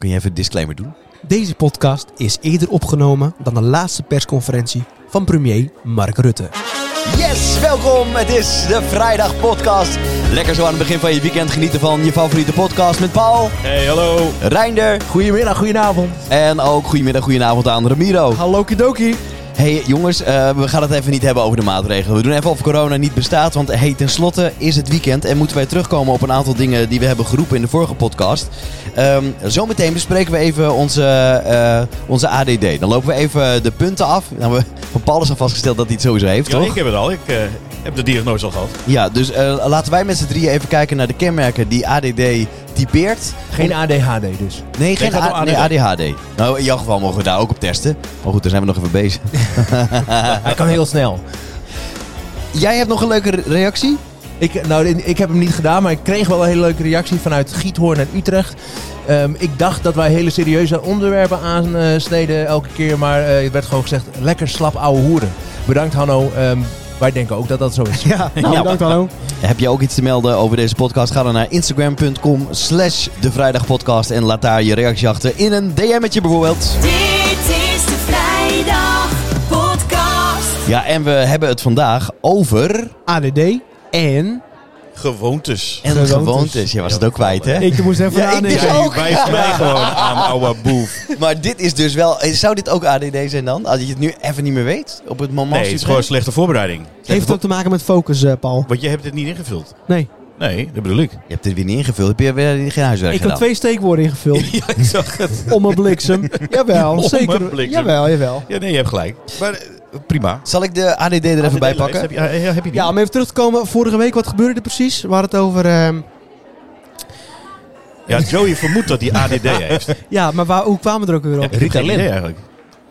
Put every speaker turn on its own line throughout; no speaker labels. Kun je even een disclaimer doen?
Deze podcast is eerder opgenomen dan de laatste persconferentie van premier Mark Rutte.
Yes, welkom. Het is de Vrijdag Podcast. Lekker zo aan het begin van je weekend genieten van je favoriete podcast met Paul,
Hey, hallo.
Reinder
Goedemiddag, goedenavond.
en ook goedemiddag, goedenavond aan Ramiro.
Hallo Kidoki.
Hey jongens, eh, we gaan het even niet hebben over de maatregelen. We doen even of corona niet bestaat, want hey, tenslotte is het weekend en moeten wij terugkomen op een aantal dingen die we hebben geroepen in de vorige podcast. Ehm, zometeen bespreken we even onze, eh, onze ADD. Dan lopen we even de punten af. Nou, we, van Paul is al vastgesteld dat hij het sowieso heeft,
Ja,
toch?
ik heb het al. Ik eh, heb de diagnose al gehad.
Ja, dus eh, laten wij met z'n drieën even kijken naar de kenmerken die ADD typeert.
Geen ADHD dus.
Nee, geen
gaat om
A- nee, ADHD. Nou, in jouw geval mogen we daar ook op testen. Maar goed, daar zijn we nog even bezig.
Hij kan heel snel.
Jij hebt nog een leuke re- reactie?
Ik, nou, ik heb hem niet gedaan, maar ik kreeg wel een hele leuke reactie vanuit Giethoorn en Utrecht. Ehm, ik dacht dat wij hele serieuze onderwerpen aansneden elke keer, maar eh, het werd gewoon gezegd, lekker slap ouwe hoeren. Bedankt Hanno, Ehm, wij denken ook dat dat zo is.
Ja, nou,
Ja.
bedankt hallo.
Heb je ook iets te melden over deze podcast? Ga dan naar instagram.com slash de vrijdagpodcast en laat daar je reactie achter in een DM'tje bijvoorbeeld.
Dit is de Vrijdag Podcast.
Ja, en we hebben het vandaag over...
ADD en...
Gewoontes.
En
Gewoontes.
gewoontes. Je was het ook kwijt, hè?
Ik moest even
Ja, ik
nadenken.
dus ook.
Wijs mij gewoon aan, ouwe boef.
Maar dit is dus wel... Zou dit ook ADD zijn dan? Als je het nu even niet meer weet? Op het moment...
Nee, het is gewoon slechte voorbereiding.
Heeft het ook te maken met focus, eh, Paul?
Want je hebt dit niet ingevuld.
Nee.
Nee, dat bedoel ik.
Je hebt dit weer niet ingevuld. Heb je weer geen huiswerk
Ik had
gedaan?
twee steekwoorden ingevuld.
Ja, ik zag het.
Om mijn bliksem. Jawel,
mijn
zeker.
bliksem.
Jawel, jawel.
Ja, nee, je hebt gelijk. Maar eh, prima.
Zal ik de ADD er even bij pakken?
Heb je, eh, ja, heb je die?
Ja, om even terug te komen. Vorige week, wat gebeurde er precies? We hadden het over... ehm,
Ja, Joey vermoedt dat hij ADD heeft.
ja, maar waar, hoe kwamen we er ook weer op?
Ik heb geen idee eigenlijk.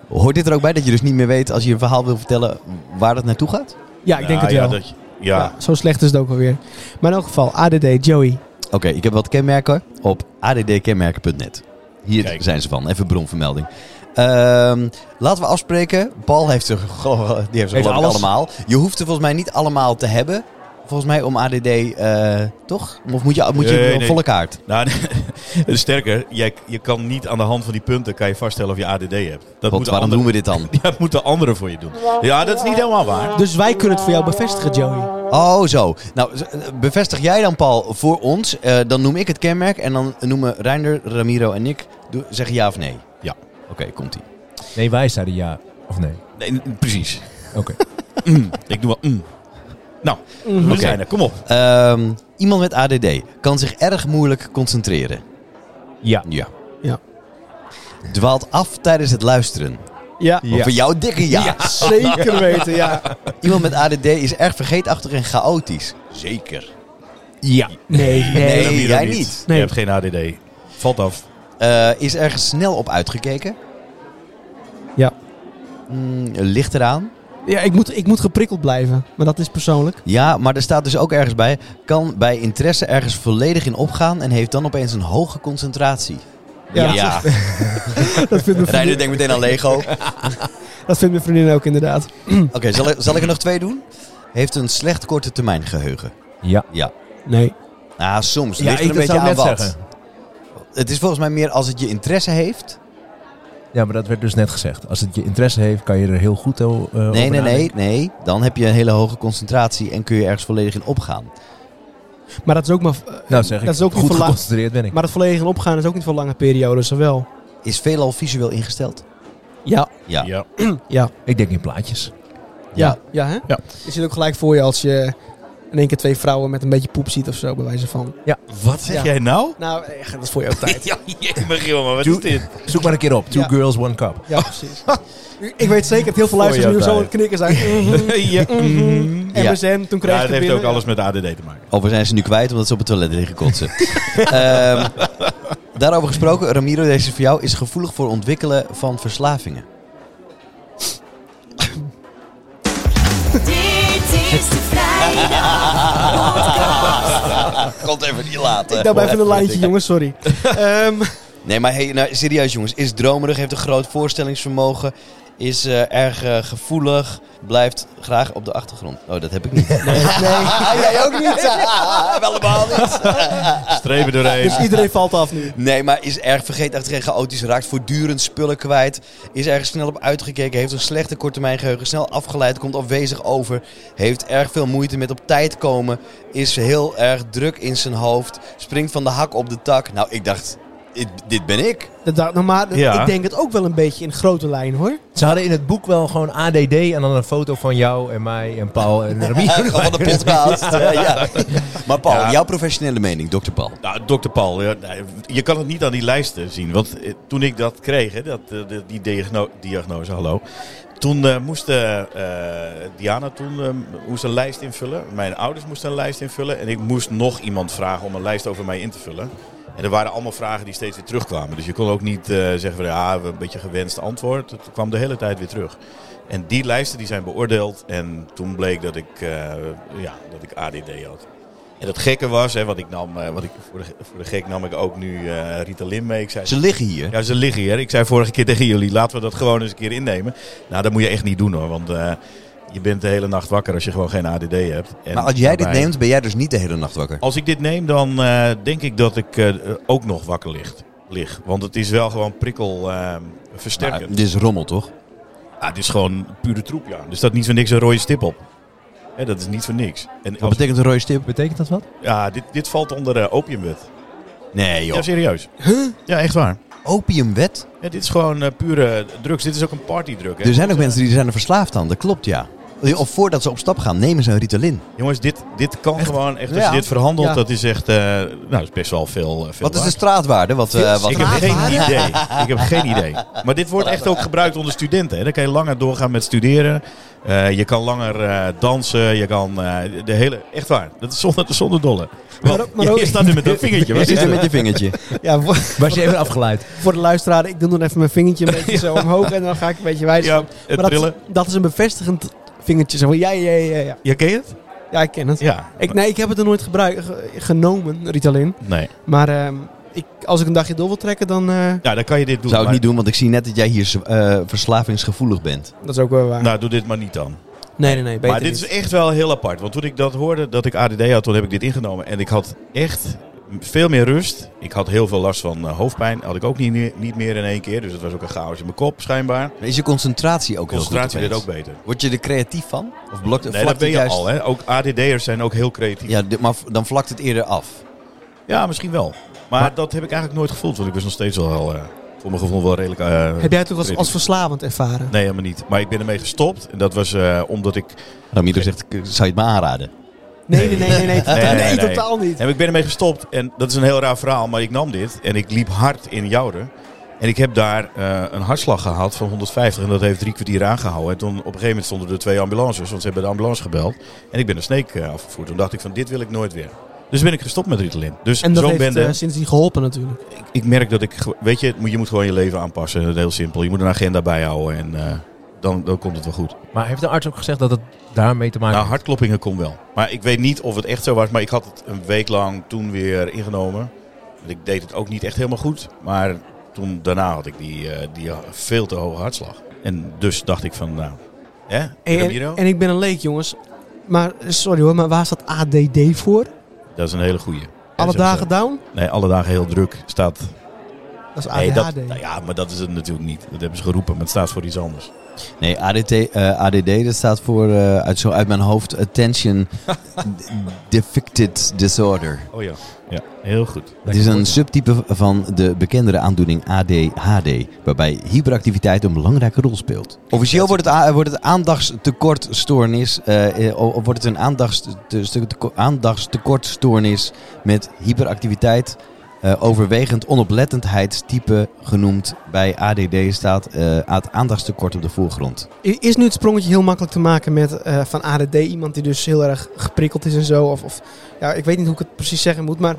Hoort dit er ook bij dat je dus niet meer weet als je een verhaal wil vertellen waar dat naartoe gaat?
Ja, ik denk
Nou,
het wel.
Ja, dat je- ja.
Ja, zo slecht is het ook alweer. Maar in elk geval, ADD, Joey.
Oké, ik heb wat kenmerken op addkenmerken.net. Hier
Kijk.
zijn ze van, even bronvermelding. Ehm, laten we afspreken. Paul heeft ze, gelo- die heeft ze
Heeft
geloof ik
alles.
allemaal. Je hoeft ze volgens mij niet allemaal te hebben. Volgens mij om ADD, eh, toch? Of moet je, moet je
Nee,
op
nee.
volle kaart?
Nou, sterker, jij, je kan niet aan de hand van die punten kan je vaststellen of je ADD hebt. Dat
Want waarom doen we dit dan?
dit? Dat moeten anderen voor je doen. Ja, dat is niet helemaal waar.
Dus wij kunnen het voor jou bevestigen, Joey.
Oh, zo. Nou, z- bevestig jij dan, Paul, voor ons. Eh, dan noem ik het kenmerk en dan noemen Reinder, Ramiro en ik doe- zeggen ja of nee.
Ja.
Oké, komt-ie.
Nee, wij zeiden ja. Of nee?
Nee, n- precies.
Oké.
Ik doe wel. mm. Nou,
Mhm.
we
Oké.
zijn er. Kom op.
Ehm, iemand met ADD kan zich erg moeilijk concentreren.
Ja.
Ja.
Ja.
Dwaalt af tijdens het luisteren.
Ja.
Of Voor jou dikke ja.
Zeker weten, ja.
Iemand met ADD is erg vergeetachtig en chaotisch. Zeker.
Ja.
Nee, nee.
Nee,
Ramiro
jij niet.
Je hebt geen ADD. Valt af.
Eh, is erg snel op uitgekeken.
Ja.
Mm, ligt eraan.
Ja, ik moet, ik moet geprikkeld blijven. Maar dat is persoonlijk.
Ja, maar er staat dus ook ergens bij. Kan bij interesse ergens volledig in opgaan en heeft dan opeens een hoge concentratie.
Ja. Dat vindt mijn
Reiner
vriendin,
denkt meteen aan Lego.
dat vindt mijn vriendin ook inderdaad.
Oké, zal, ik- zal ik er nog twee doen? Heeft een slecht korte termijn geheugen.
Ja.
Ja.
Nee.
Ah, soms.
Ja,
Ligt er
ik
een beetje
zou
aan
net
wat.
zeggen.
Het is volgens mij meer als het je interesse heeft.
Ja, maar dat werd dus net gezegd. Als het je interesse heeft, kan je er heel goed eh, over
Nee, nee, nee,
nadenken.
nee. Dan heb je een hele hoge concentratie en kun je ergens volledig in opgaan.
Maar dat is ook maar... eh,
Nou zeg ik,
Dat is ook niet
goed
verlaagd.
geconcentreerd ben ik.
Maar dat volledig in opgaan is ook niet voor lange periodes, zowel.
Is veelal visueel ingesteld.
Ja.
Ja.
Ja.
Ja.
Ik denk in plaatjes.
Ja. Ja, hè?
Ja.
Je zit ook gelijk voor je als je in één keer twee vrouwen met een beetje poep ziet of zo, bij wijze van.
Wat zeg
Ja.
jij nou?
Nou, echt, dat is voor je ook tijd.
Ja, jee, maar Giel, maar wat
Doe-
is dit?
Zoek maar een keer op. Two
Ja.
girls, one cup.
Ja, precies. ik weet zeker dat heel veel
Voor
luisteraars
jouw
nu zo aan het
tijd.
knikken zijn. Mm-hmm.
ja.
Mhm.
Ja.
MSN, toen kreeg
Ja,
ik het
het heeft ook
binnen.
alles met ADD te maken.
Of we zijn ze nu kwijt omdat ze op het toilet liggen kotsen. Ehm, daarover gesproken, Ramiro, deze is voor jou is gevoelig voor ontwikkelen van verslavingen.
Dit is de Vrijdag.
Komt even niet laten.
Ik daarbij even een lijntje, jongens, sorry. Ehm,
Nee, maar hey, nou, serieus jongens, is dromerig, heeft een groot voorstellingsvermogen, is eh, erg eh, gevoelig, blijft graag op de achtergrond. Oh, dat heb ik niet.
Ah,
Jij ook niet? Wel helemaal niet.
Ah,
Streven doorheen.
Dus iedereen valt af nu.
Nee, maar is erg vergeetachtig en chaotisch, raakt voortdurend spullen kwijt, is erg snel op uitgekeken, heeft een slechte korttermijngeheugen, snel afgeleid, komt afwezig over, heeft erg veel moeite met op tijd komen, is heel erg druk in zijn hoofd, springt van de hak op de tak. Nou, ik dacht, dit, dit ben ik.
Dat, dacht- nou, maar
Ja.
ik denk het ook wel een beetje in grote lijn hoor.
Ze hadden in het boek wel gewoon ADD en dan een foto van jou en mij en Paul en Remy.
Gewoon Van de podcast. Ja, ja. Maar Paul,
Ja.
jouw professionele mening, dokter Paul.
Nou, dokter Paul, ja, nee, je kan het niet aan die lijsten zien. Want eh, toen ik dat kreeg, hè, dat, eh, de- die diagno- diagnose, hallo. Toen eh, moest eh, eh, Diana toen, eh, moest een lijst invullen. Mijn ouders moesten een lijst invullen. En ik moest nog iemand vragen om een lijst over mij in te vullen. En er waren allemaal vragen die steeds weer terugkwamen. Dus je kon ook niet eh, zeggen van ja, we hebben een beetje gewenst antwoord. Het kwam de hele tijd weer terug. En die lijsten die zijn beoordeeld. En toen bleek dat ik, eh, ja, dat ik ADD had. En het gekke was, hè, wat ik nam, eh, wat ik, voor, de, voor de gek nam ik ook nu eh, Ritalin mee. Ik zei,
Ze liggen hier.
ja, ze liggen hier. Ik zei vorige keer tegen jullie, laten we dat gewoon eens een keer innemen. Nou, dat moet je echt niet doen hoor, want eh, je bent de hele nacht wakker als je gewoon geen ADD hebt. En
Maar als jij dit
daarbij-
neemt, ben jij dus niet de hele nacht wakker.
Als ik dit neem, dan eh, denk ik dat ik eh, ook nog wakker ligt, lig. Want het is wel gewoon prikkel eh,
Nou,
versterkend.
dit is rommel, toch?
Ah, dit is gewoon pure troep, ja. Er staat niet voor niks een rode stip op. Hè, dat is niet voor niks. En
Wat
als-
betekent een rode stip?
Betekent dat wat?
ja, dit, dit valt onder eh, opiumwet.
Nee, joh.
Ja, serieus. Ja, echt waar.
Opiumwet?
Ja, dit is gewoon eh, pure drugs. Dit is ook een partydruk. Hè?
Er zijn ook mensen die zijn er verslaafd aan, dat klopt ja. Of voordat ze op stap gaan, nemen ze een Ritalin.
Jongens, dit, dit kan gewoon echt. Als
Ja.
je dit verhandelt,
Ja.
dat is echt. eh, nou, dat is best wel veel. eh, veel
Wat is de
waard.
straatwaarde? Wat, eh,
Veel
wat
Ik heb
straat-
geen idee. Ik heb geen idee. Maar dit wordt echt ook gebruikt onder studenten. Hè. Dan kan je langer doorgaan met studeren. Eh, je kan langer eh, dansen. Je kan eh, de hele. Echt waar. Dat is zonder, zonder dolle.
Maar
Want,
ook- maar ook-
je staat nu met dat vingertje. Wat
Zit
is
er
dat?
met je vingertje?
Ja, voor,
Was je even afgeleid?
voor de luisteraar, ik doe dan even mijn vingertje een beetje zo omhoog en dan ga ik een beetje wijzen.
Ja, het
maar dat,
Eh, trillen.
is- dat is een bevestigend vingertje. Zo van, ja, ja, ja, ja.
Ja, ken je het?
Ja, ik ken het.
Ja.
Ik, nee, ik heb het er nooit gebruikt, ge- genomen, Ritalin.
Nee.
Maar ehm, ik, als ik een dagje door wil trekken, dan... eh,
Ja, dan kan je dit doen.
Zou ik
maar-
niet doen, want ik zie net dat jij hier eh, verslavingsgevoelig bent.
dat is ook wel waar.
Nou, doe dit maar niet dan.
nee, nee, nee. Beter
maar dit is echt wel heel apart. Want toen ik dat hoorde, dat ik ADD had, toen heb ik dit ingenomen. En ik had echt veel meer rust. Ik had heel veel last van eh, hoofdpijn. Had ik ook niet, meer- niet meer in één keer. Dus het was ook een chaos in mijn kop, schijnbaar.
Is je concentratie ook
Concentratie
heel
werd
goed
ook beter.
Word je er creatief van? Of blokt
Nee, dat ben je al. Hè? Ook ADD'ers zijn ook heel creatief. Ja,
Ja, dit- maar v- dan vlakt het eerder af.
misschien wel. Maar, dat heb ik eigenlijk nooit gevoeld. Want ik was nog steeds wel, heel, eh, voor mijn gevoel wel redelijk... eh,
Heb jij het ook als,
creatief.
als verslavend ervaren?
Nee, helemaal niet. Maar ik ben ermee gestopt. En dat was eh, omdat ik...
Ramiro zegt, k- zou je het me aanraden?
Nee, nee, nee, nee. Nee,
Nee, nee, nee.
totaal niet.
En ik ben ermee gestopt. En dat is een heel raar verhaal, maar ik nam dit. En ik liep hard in Jouren. En ik heb daar eh, een hartslag gehad van 150. En dat heeft drie kwartier aangehouden. En toen op een gegeven moment stonden er twee ambulances. Want ze hebben de ambulance gebeld. En ik ben een sneek eh, afgevoerd. Toen dacht ik van dit wil ik nooit weer. Dus ben ik gestopt met Ritalin. Dus
En dat
zo
heeft
ben
eh, sindsdien geholpen natuurlijk.
ik, ik merk dat ik... ge- Weet je, het moet- je moet gewoon je leven aanpassen. Dat is heel simpel. Je moet een agenda bijhouden. En eh, dan, dan komt het wel goed.
Maar heeft de arts ook gezegd dat het daarmee te maken
Nou, hartkloppingen kon wel. Maar ik weet niet of het echt zo was. Maar ik had het een week lang toen weer ingenomen. Want Ik deed het ook niet echt helemaal goed. Maar toen daarna had ik die, eh, die veel te hoge hartslag. En dus dacht ik van, nou, hè,
En,
Ramiro?
en, en ik ben een leek, jongens. Maar, eh, sorry hoor, maar waar staat ADD voor?
dat is een hele goeie. Ja,
Alle
zeg maar
dagen down?
zo. Nee, alle dagen heel druk staat...
Dat is ADHD.
Nee, dat, nou ja, maar dat is het natuurlijk niet. Dat hebben ze geroepen, maar het staat voor iets anders.
Nee, ADT, eh, ADD, dat staat voor, eh, uit, zo uit mijn hoofd, Attention Defected Disorder.
Oh ja. Ja, heel goed.
Het is een subtype van de bekendere aandoening ADHD, waarbij hyperactiviteit een belangrijke rol speelt. Officieel wordt het, a- wordt het aandachtstekortstoornis, eh, eh, of wordt het een aandachtste- te- stu- teko- aandachtstekortstoornis met hyperactiviteit, eh, overwegend onoplettendheidstype genoemd. Bij ADD staat eh, het aandachtstekort op de voorgrond.
I- Is nu het sprongetje heel makkelijk te maken met eh, van ADD, iemand die dus heel erg geprikkeld is en zo? Of, of ja, ik weet niet hoe ik het precies zeggen moet, maar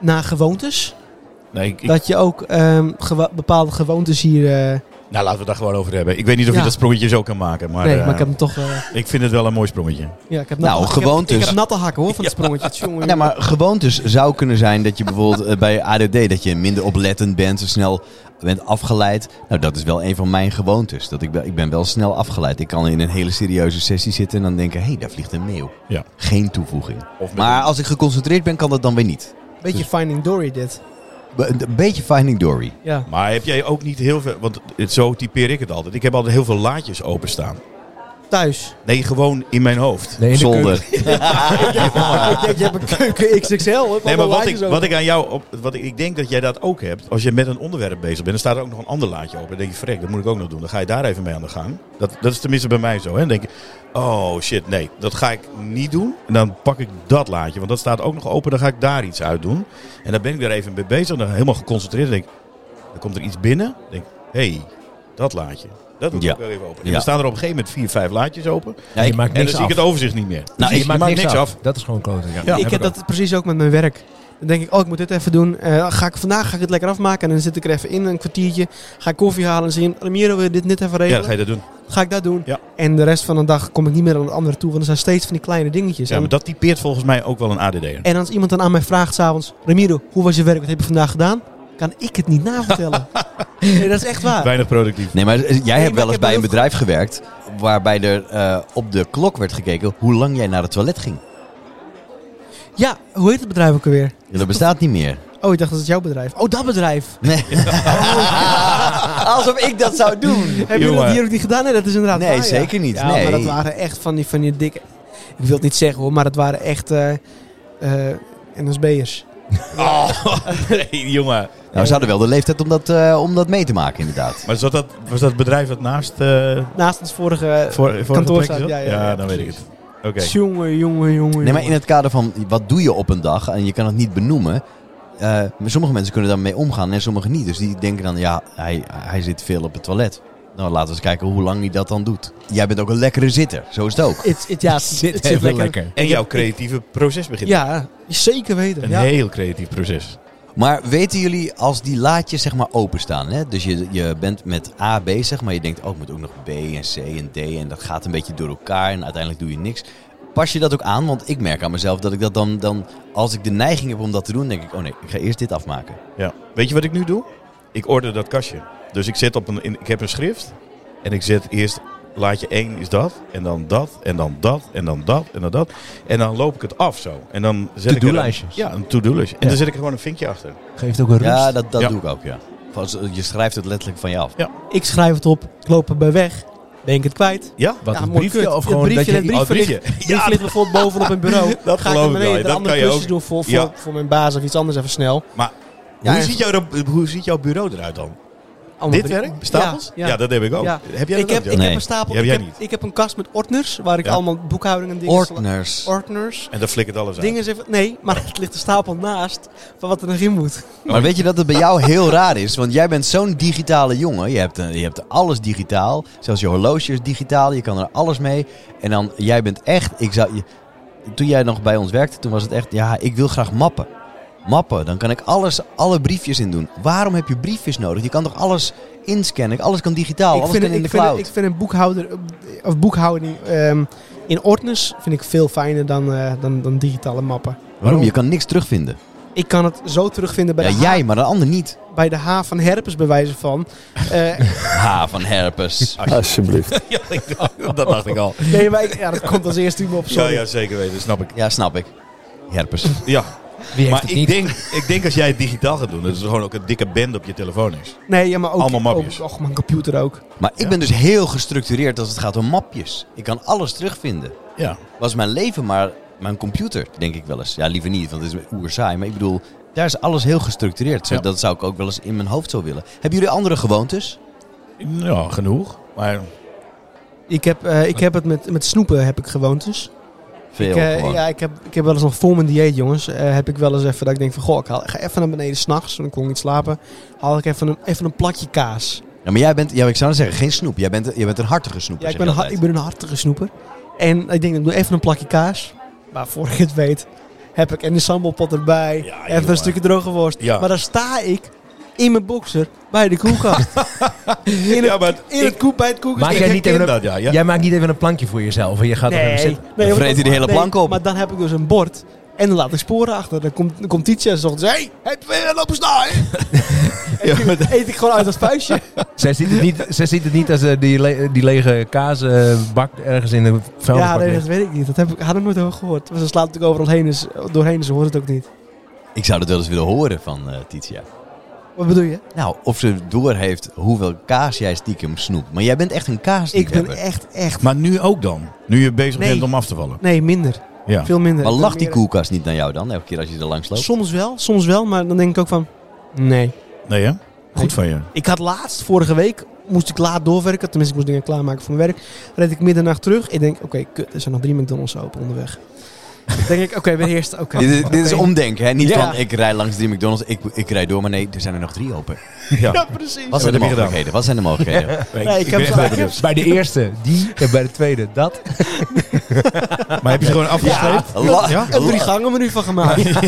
na gewoontes?
Nee, ik, ik-
Dat je ook ehm, gewa- bepaalde gewoontes hier eh,
Nou, laten we daar gewoon over hebben. Ik weet niet of
Ja.
je dat sprongetje zo kan maken, maar,
nee,
eh,
maar ik heb hem toch... eh,
ik vind het wel een mooi sprongetje.
ja, ik heb
Nou,
natte- ik heb-
gewoontes.
Ik heb natte hakken hoor, van het sprongetje. Tjonge,
Nee, maar gewoontes zou kunnen zijn dat je bijvoorbeeld eh, bij ADD dat je minder oplettend bent, zo snel bent afgeleid. Nou, dat is wel een van mijn gewoontes. Dat ik, wel- ik ben wel snel afgeleid. Ik kan in een hele serieuze sessie zitten en dan denken, hé, hey, daar vliegt een meeuw.
Ja.
Geen toevoeging.
Of met
Maar
een-
als ik geconcentreerd ben, kan dat dan weer niet.
Beetje Finding Dory dit.
Be- een beetje Finding Dory.
Ja.
maar heb jij ook niet heel veel... Want het, zo typeer ik het altijd. Ik heb altijd heel veel laadjes openstaan.
Thuis.
Nee, gewoon in mijn hoofd.
Nee, in de keuken.
Zolder.
Ik denk, je hebt een keuken XXL. hoor.
Nee, maar wat
Lijntjes
ik,
open.
wat ik aan jou... Op, wat ik, ik denk dat jij dat ook hebt. Als je met een onderwerp bezig bent, dan staat er ook nog een ander laadje open. Dan denk je, vrek, dat moet ik ook nog doen. Dan ga je daar even mee aan de gang. Dat, dat is tenminste bij mij zo. Hè? Dan denk je, oh shit, nee, dat ga ik niet doen. En dan pak ik dat laadje, want dat staat ook nog open. Dan ga ik daar iets uit doen. En dan ben ik daar even mee bezig. Dan helemaal geconcentreerd. Dan denk ik, dan komt er iets binnen. Dan denk ik, hey, dat laadje. Dat moet
Ja.
ik wel even open. En
Ja.
dan staan er op een gegeven moment vier, vijf laadjes open.
Ja,
je
ik-
maakt
En dan
niks
zie dus ik
af.
het overzicht niet meer. Dus
Nou,
je,
ik-
maakt
maakt
niks
niks
af.
af.
Dat is gewoon kloten. Ja,
ik heb dat precies ook met mijn werk. Dan denk ik, oh, ik moet dit even doen. Eh, ga ik, vandaag ga ik het lekker afmaken. En dan zit ik er even in, een kwartiertje. Ga ik koffie halen en zien, Ramiro, wil je dit net even
Ja,
regelen?
dan ga je dat doen.
ga... ik dat doen.
Ja.
En de rest van de dag kom ik niet meer aan het andere toe. Want er zijn steeds van die kleine dingetjes.
Ja,
en,
maar dat typeert volgens mij ook wel een ADD'er.
en als iemand dan aan mij vraagt s'avonds, Ramiro, hoe was je werk? Wat heb je vandaag gedaan? Kan ik het niet navertellen. nee, dat is echt waar.
Weinig productief.
Nee, maar eh, jij
maar
hebt wel eens
ik heb
bij een
heel
bedrijf gewerkt waarbij er eh, op de klok werd gekeken hoe lang jij naar het toilet ging.
Ja, hoe heet het bedrijf ook alweer?
Ja, dat bestaat niet meer.
Oh, ik dacht dat het jouw bedrijf. Oh, dat bedrijf.
Nee. Alsof ik dat zou doen.
Hebben jullie
Jongen.
dat hier ook niet gedaan? Nee, dat is inderdaad
Nee,
waar, ja.
zeker niet.
Ja,
Nee.
maar dat waren echt van die, van die dikke... Ik wil het niet zeggen hoor, maar dat waren echt eh eh NSB'ers.
Oh, nee, jongen.
Nou, ze hadden wel de leeftijd om dat, eh, om dat mee te maken, inderdaad.
Maar zat dat, was dat bedrijf dat naast eh
Naast ons vorige...
voor, voor
Kantoor staat,
zat?
ja,
Ja,
ja, ja,
dan weet ik het. Oké.
Jongen, jongen, jongen.
Nee, maar in het kader van wat doe je op een dag en je kan het niet benoemen. eh, maar sommige mensen kunnen daarmee omgaan en sommige niet. Dus die denken dan, ja, hij, hij zit veel op het toilet. Nou, laten we eens kijken hoe lang hij dat dan doet. Jij bent ook een lekkere zitter, zo is het ook.
Het, het, ja, het zit, het zit lekker.
En jouw creatieve proces begint.
Ja, zeker weten.
Een
Ja.
heel creatief proces.
Maar weten jullie als die laadjes zeg maar openstaan? Hè? Dus je, je bent met A bezig, maar je denkt ook moet ook nog B en C en D en dat gaat een beetje door elkaar en uiteindelijk doe je niks. Pas je dat ook aan? Want ik merk aan mezelf dat ik dat dan, dan als ik de neiging heb om dat te doen, denk ik oh nee, ik ga eerst dit afmaken.
Ja. Weet je wat ik nu doe? Ik order dat kastje. Dus ik, zet op een, in- ik heb een schrift. En ik zet eerst laadje 1 is dat. En dan dat. En dan dat. En dan dat. En dan dat. En dan loop ik het af zo. En dan zet ik er een-
To-do-lijstjes.
Ja, een to-do-lijstje. En
Ja.
dan zet ik er gewoon een vinkje achter.
Geeft ook een rust.
Ja, dat, dat
Ja.
doe ik ook, ja. Als- Je schrijft het letterlijk van je af.
Ik schrijf het op, ik loop erbij weg. Ben ik het kwijt?
Ja?
Wat
Ja,
een
mooi
briefje
kut.
of
Het
gewoon
briefje,
dat
het
je...
briefje.
Oh, briefje.
Die ligt bijvoorbeeld boven op mijn bureau.
Dat
Ga ik
geloof
naar
ik wel.
beneden
Dat
andere
kan je
klusjes
ook.
doen voor, voor,
Ja.
voor mijn baas of iets anders even snel.
Maar
Ja,
hoe,
en-
ziet jouw, hoe ziet jouw bureau eruit dan?
Allemaal
Dit
brie-
werk? Stapels?
Ja,
Ja,
ja.
dat heb ik ook.
Ja.
Oh, Heb jij dat
ik heb, ik
ook, Joop?
Nee.
heb een stapel.
Die heb
ik,
jij
heb,
niet.
ik heb een kast met ordners waar ik
Ja.
allemaal boekhoudingen dingen.
Ordners.
ordners.
En dat flikkert alles uit.
Dingen is even. Nee, maar het ligt een stapel naast van wat er nog in moet.
Maar weet je dat het bij jou heel raar is? Want jij bent zo'n digitale jongen. Je hebt, eh, je hebt alles digitaal. Zelfs je horloge is digitaal. Je kan er alles mee. En dan, jij bent echt... Ik zou, je- toen jij nog bij ons werkte, toen was het echt... Ja, ik wil graag mappen. Mappen, dan kan ik alles, alle briefjes in doen. Waarom heb je briefjes nodig? Je kan toch alles inscannen? Alles kan digitaal, alles kan in de
ik, vind,
cloud.
ik vind een boekhouder of boekhouding ehm, in ordners vind ik veel fijner dan, eh, dan, dan digitale mappen.
Waarom? Je kan niks terugvinden.
Ik kan het zo terugvinden bij,
Ja,
de,
jij,
H,
maar de ander niet.
bij de H van Herpes bij wijze van. Eh,
Ha, van herpes.
Alsjeblieft.
Ja, ik dacht- dat dacht ik al.
nee, maar ik- ja, dat komt als eerste iemand op
Ja,
sorry.
ja, zeker weten. Snap ik.
Ja, snap ik. Herpes.
Ja. Maar ik denk, ik denk als jij het digitaal gaat doen, dat het gewoon ook een dikke band op je telefoon is.
Nee, ja, maar ook,
Allemaal mapjes.
ook- och, mijn computer ook.
Maar ik
Ja.
ben dus heel gestructureerd als het gaat om mapjes. Ik kan alles terugvinden.
Ja.
Was mijn leven maar mijn computer, denk ik wel eens. Ja, liever niet, want het is oer saai. Maar ik bedoel, daar is alles heel gestructureerd. Zo,
Ja.
Dat zou ik ook wel eens in mijn hoofd zo willen. Hebben jullie andere gewoontes?
Ja, genoeg. Maar
Ik heb, eh, ik heb het met, met snoepen heb ik gewoontes.
Veel
Ik, eh,
gewoon.
ja, ik heb, ik heb wel eens nog voor mijn dieet, jongens. eh, heb ik wel eens even dat ik denk van, goh, ik haal, ga even naar beneden s'nachts. Dan kon ik niet slapen. Haal ik even een, even een plakje kaas.
Ja, maar jij bent, ja, ik zou dan zeggen, geen snoep. Jij bent, jij bent een hartige snoeper,
Ja, ik
zeg
ben,
je
een, ha-
altijd.
ik ben een hartige snoeper. En ik denk, ik doe even een plakje kaas. Maar voor ik het weet, heb ik en de sambalpot erbij.
Ja,
even
jongen.
een stukje droge worst.
Ja.
Maar dan sta ik in mijn boxer bij de koelkast. in het,
Ja, maar
in het
ik-
koe, bij het koelkast.
Maak
ik
jij niet
herken
even een,
dat, ja, ja.
Jij maakt niet even een plankje voor jezelf en je gaat er even
Nee,
zitten.
nee,
Dan vreet
want-
hij de hele
nee,
plank op.
Maar dan heb ik dus een bord en dan laat ik sporen achter. Dan komt, dan komt Tietje en zegt, hey, heb je weer een lopen staan?
Ja, maar dat-
eet ik gewoon uit dat vuistje.
Zij ziet het niet, zij ziet het niet als eh, die, le- die lege kaasbak ergens in de
ja,
vuilnisbak
nee,
ligt.
dat weet ik niet. Dat heb ik, had ik nooit over gehoord. Maar ze slaat natuurlijk overal heen, dus, doorheen, dus ze hoort het ook niet.
Ik zou dat wel eens willen horen van eh, Titia.
Wat bedoel je?
Nou, of ze door heeft hoeveel kaas jij stiekem snoept. Maar jij bent echt een kaas
Ik ben echt, echt...
Maar nu ook dan? Nu je bezig
Nee.
bent om af te vallen.
Nee, minder.
Ja.
Veel minder.
Maar
Ik
lacht
ben
die
meer-
koelkast niet naar jou dan, elke keer als je er langs loopt?
Soms wel, soms wel, maar dan denk ik ook van... Nee.
Nee hè? Goed van je.
Ik had laatst, vorige week, moest ik laat doorwerken. Tenminste, ik moest dingen klaarmaken voor mijn werk. Reed ik middernacht terug. Ik denk, oké, kut, er zijn nog drie McDonald's open onderweg. denk ik, oké, weer eerst. Oké.
Dit, is- dit is
Oké.
omdenken, hè? Niet
Ja.
van ik rij langs drie McDonald's, ik, ik rijd door, maar nee, er zijn er nog drie open.
Ja.
Ja, precies.
Wat zijn de
heb je gedaan?
mogelijkheden? Wat zijn de mogelijkheden?
Nee,
Nee, ik
ik
heb
ben echt
zo-
wel
ik heb
benieuwd.
Bij de eerste, die en bij de tweede, dat.
Maar heb je ze gewoon afgestreept?
La-
Ja?
Een drie gangen menu van gemaakt.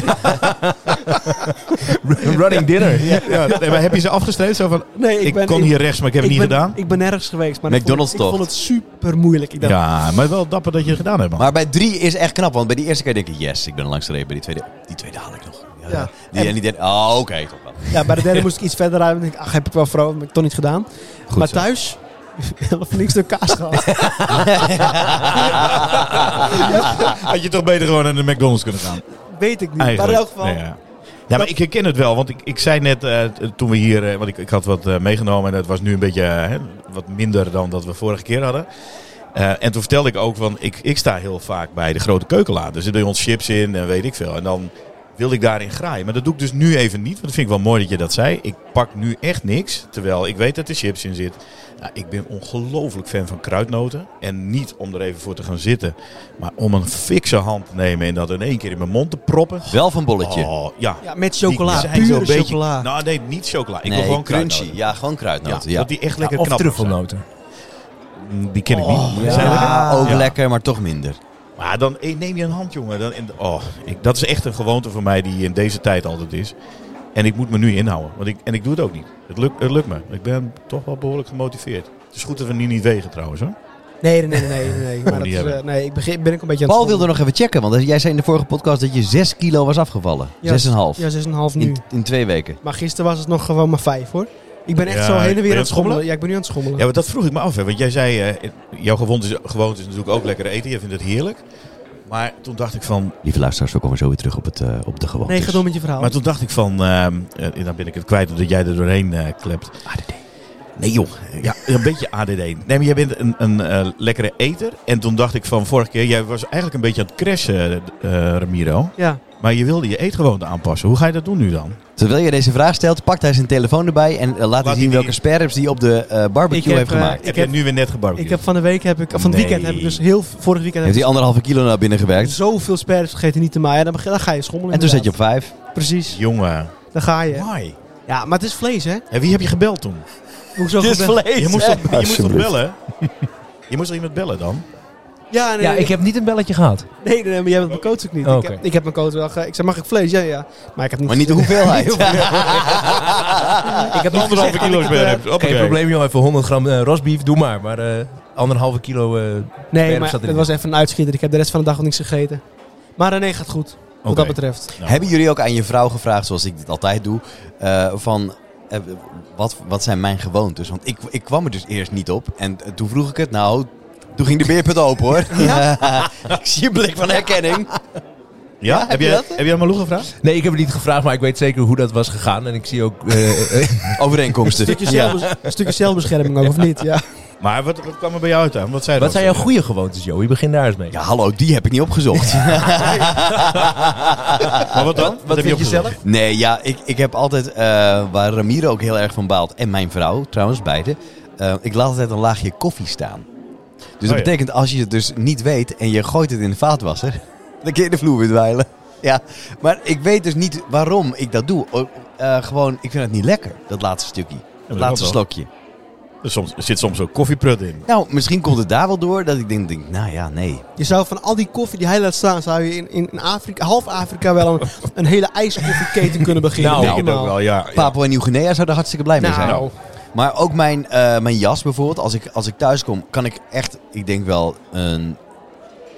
Running dinner.
Ja, ja. Nee, maar heb je ze afgestreept? Zo van,
Nee, ik,
ik,
ben,
kon
ik-
hier rechts, maar ik heb het
ik
niet
ben-
gedaan.
Ik ben nergens geweest, maar ik vond-
McDonald's
ik vond,
tocht.
het super moeilijk. Ik dacht,
Ja, maar wel dapper dat je het gedaan hebt. man.
Maar bij drie is echt knap, want bij die eerste keer denk je, yes, ik ben er langs gereden. Bij die tweede, die tweede haal ik nog. Ja,
Ja.
Die en die derde, oh, oké, toch wel.
Ja, bij de derde moest ik iets verder rijden. Ik dacht, ach, heb ik wel vrouw, heb ik toch niet gedaan. maar
zo.
thuis, helemaal niks door kaas gehad.
Had je toch beter gewoon naar de McDonald's kunnen gaan?
Weet ik niet. Maar in
Eigenlijk.
elk geval,
Nee, ja. Ja, maar ik herken het wel, want ik, ik zei net eh, t- toen we hier, eh, want ik, ik had wat eh, meegenomen en het was nu een beetje eh, hè, wat minder dan dat we vorige keer hadden. Eh, en toen vertelde ik ook, van ik, ik sta heel vaak bij de grote keukenladen. Er zitten bij ons chips in en weet ik veel. En dan wil ik daarin graaien. Maar dat doe ik dus nu even niet, want dat vind ik wel mooi dat je dat zei. Ik pak nu echt niks, terwijl ik weet dat er chips in zit. Nou, ik ben ongelooflijk fan van kruidnoten. En niet om er even voor te gaan zitten, maar om een fikse hand te nemen en dat in één keer in mijn mond te proppen.
Wel van bolletje.
Oh, ja.
ja, met chocola,
Die zijn
pure
zo'n beetje-
chocola.
Nou, nee, niet chocola. Ik
nee,
wil gewoon
crunchy.
kruidnoten.
Ja, gewoon kruidnoten. Ja,
Dat die echt lekker
of nou.
knap
truffelnoten.
zijn. Die ken ik
Oh,
niet.
ja.
Zijn er?
Ja, ook
Ja.
lekker, maar toch minder.
Maar dan eh, neem je een hand, jongen. Dan, en, oh, ik, dat is echt een gewoonte voor mij die in deze tijd altijd is. En ik moet me nu inhouden. Want ik, en ik doe het ook niet. Het lukt, het lukt me. Ik ben toch wel behoorlijk gemotiveerd. Het is goed dat we nu niet wegen trouwens. Hoor.
Nee, nee, nee, nee. nee, nee. Maar
niet
dat is,
hebben.
eh, nee ik begin, ben ik een beetje aan het
Paul wilde nog even checken, want jij zei in de vorige podcast dat je 6 kilo was afgevallen. 6,5.
Ja, 6,5 nu.
in, in twee weken.
Maar gisteren was het nog gewoon maar 5 hoor. Ik ben echt
Ja,
zo
ben je
heen en
aan
weer aan
het
het schommelen.
schommelen?
Ja, ik ben nu aan het schommelen.
Ja, maar dat vroeg ik me af. Hè, want jij zei, eh, jouw gewoonte is, gewoonte is natuurlijk ook lekker eten. Je vindt het heerlijk. Maar toen dacht ik van,
Lieve luisteraars, we komen zo weer terug op, het, eh, op de gewoonte.
nee, ga door met je verhaal.
Maar toen dacht ik van, ehm, eh, dan ben ik het kwijt dat jij er doorheen eh, klept. ADD. Nee joh, ja, een beetje ADD. Nee, maar jij bent een, een eh, lekkere eter. En toen dacht ik van vorige keer, jij was eigenlijk een beetje aan het crashen, eh, Ramiro.
Ja.
Maar je wilde je eetgewoonte aanpassen. Hoe ga je dat doen nu dan?
Terwijl je deze vraag stelt, pakt hij zijn telefoon erbij en eh, laat, hij
hij
zien
die-
welke sperrips hij op de eh, barbecue
Ik heb,
heeft
eh,
gemaakt.
heb
heb-
je nu weer net gebarbecued?
Ik heb van de week heb ik, van het
Nee.
weekend heb ik dus heel, vorig weekend heb
heeft
ik dus
hij anderhalve kilo naar binnen gewerkt.
zoveel sperrips gegeten, niet te maaien. Dan, beg- dan ga je schommelen
En toen zet je op
inderdaad.
vijf.
Precies,
Jongen,
dan ga je.
why?
Ja, maar het is vlees hè.
En wie heb je gebeld toen?
Hoezo gebeurt-
Je moest toch, je moest toch
Alsjeblieft.
bellen? Je moest toch iemand bellen dan?
Ja, nee,
Ja,
nee,
ik heb niet een belletje gehad.
nee, nee, nee, maar jij bent mijn coach ook niet.
Oh,
ik, heb,
oké.
ik heb mijn coach wel ge- Ik zei, mag ik vlees? Ja, ja. Maar ik heb niet
Maar niet de hoeveelheid.
Ik heb niet
Anderhalve kilo sperrips.
Geen
hoppakee.
probleem, joh. Even 100 gram eh, rosbief, doe maar. Maar eh, anderhalve kilo. eh,
Nee,
Sperrips
maar
zat
dat
erin.
was even een uitschieter. Ik heb de rest van de dag nog niks gegeten. Maar eh, nee, gaat goed. Wat
Oké.
dat betreft.
Nou. Hebben jullie ook aan je vrouw gevraagd, zoals ik dit altijd doe, eh, van eh, wat, wat zijn mijn gewoontes? Want ik, ik kwam er dus eerst niet op en eh, toen vroeg ik het, nou, toen ging de beerput open hoor. ik zie je blik van herkenning.
Ja?
heb
heb,
je
je,
dat?
heb je aan Malou gevraagd?
Nee, ik heb het niet gevraagd, maar ik weet zeker hoe dat was gegaan. En ik zie ook. eh, eh,
Overeenkomsten.
Stukje zelfbes- Een stukje zelfbescherming ook, of niet? Ja.
Maar wat, wat kwam er bij jou uit aan? Wat zei
wat
dat?
zijn jouw goede gewoontes, Joey? Begin daar eens mee.
Ja, hallo, die heb ik niet opgezocht.
Maar wat dan?
Wat vind je
opgezocht?
zelf?
Nee, ja, ik, ik heb altijd, eh, waar Ramiro ook heel erg van baalt, en mijn vrouw trouwens, beide, eh, ik laat altijd een laagje koffie staan. Dus dat
Oh ja.
betekent, als je het dus niet weet en je gooit het in de vaatwasser, dan kun je de vloer weer dweilen. Ja, maar ik weet dus niet waarom ik dat doe. O- eh, gewoon, ik vind het niet lekker, dat laatste stukje. Dat
dat
laatste
klopt
slokje.
wel. Dat Er, soms, er zit soms ook koffieprut in.
Nou, misschien komt het daar wel door dat ik denk, denk nou ja, nee.
Je zou van al die koffie die hij laat staan, zou je in, in, in Afrika, half Afrika wel een, een hele ijskoffieketen kunnen beginnen.
Nou,
Ik
Denk
denk het ook wel, ja. ja.
Papua en Nieuw-Guinea zou er hartstikke blij mee zijn.
Nou,
Maar ook mijn, eh, mijn jas bijvoorbeeld, als ik, als ik thuis kom, kan ik echt, ik denk wel een,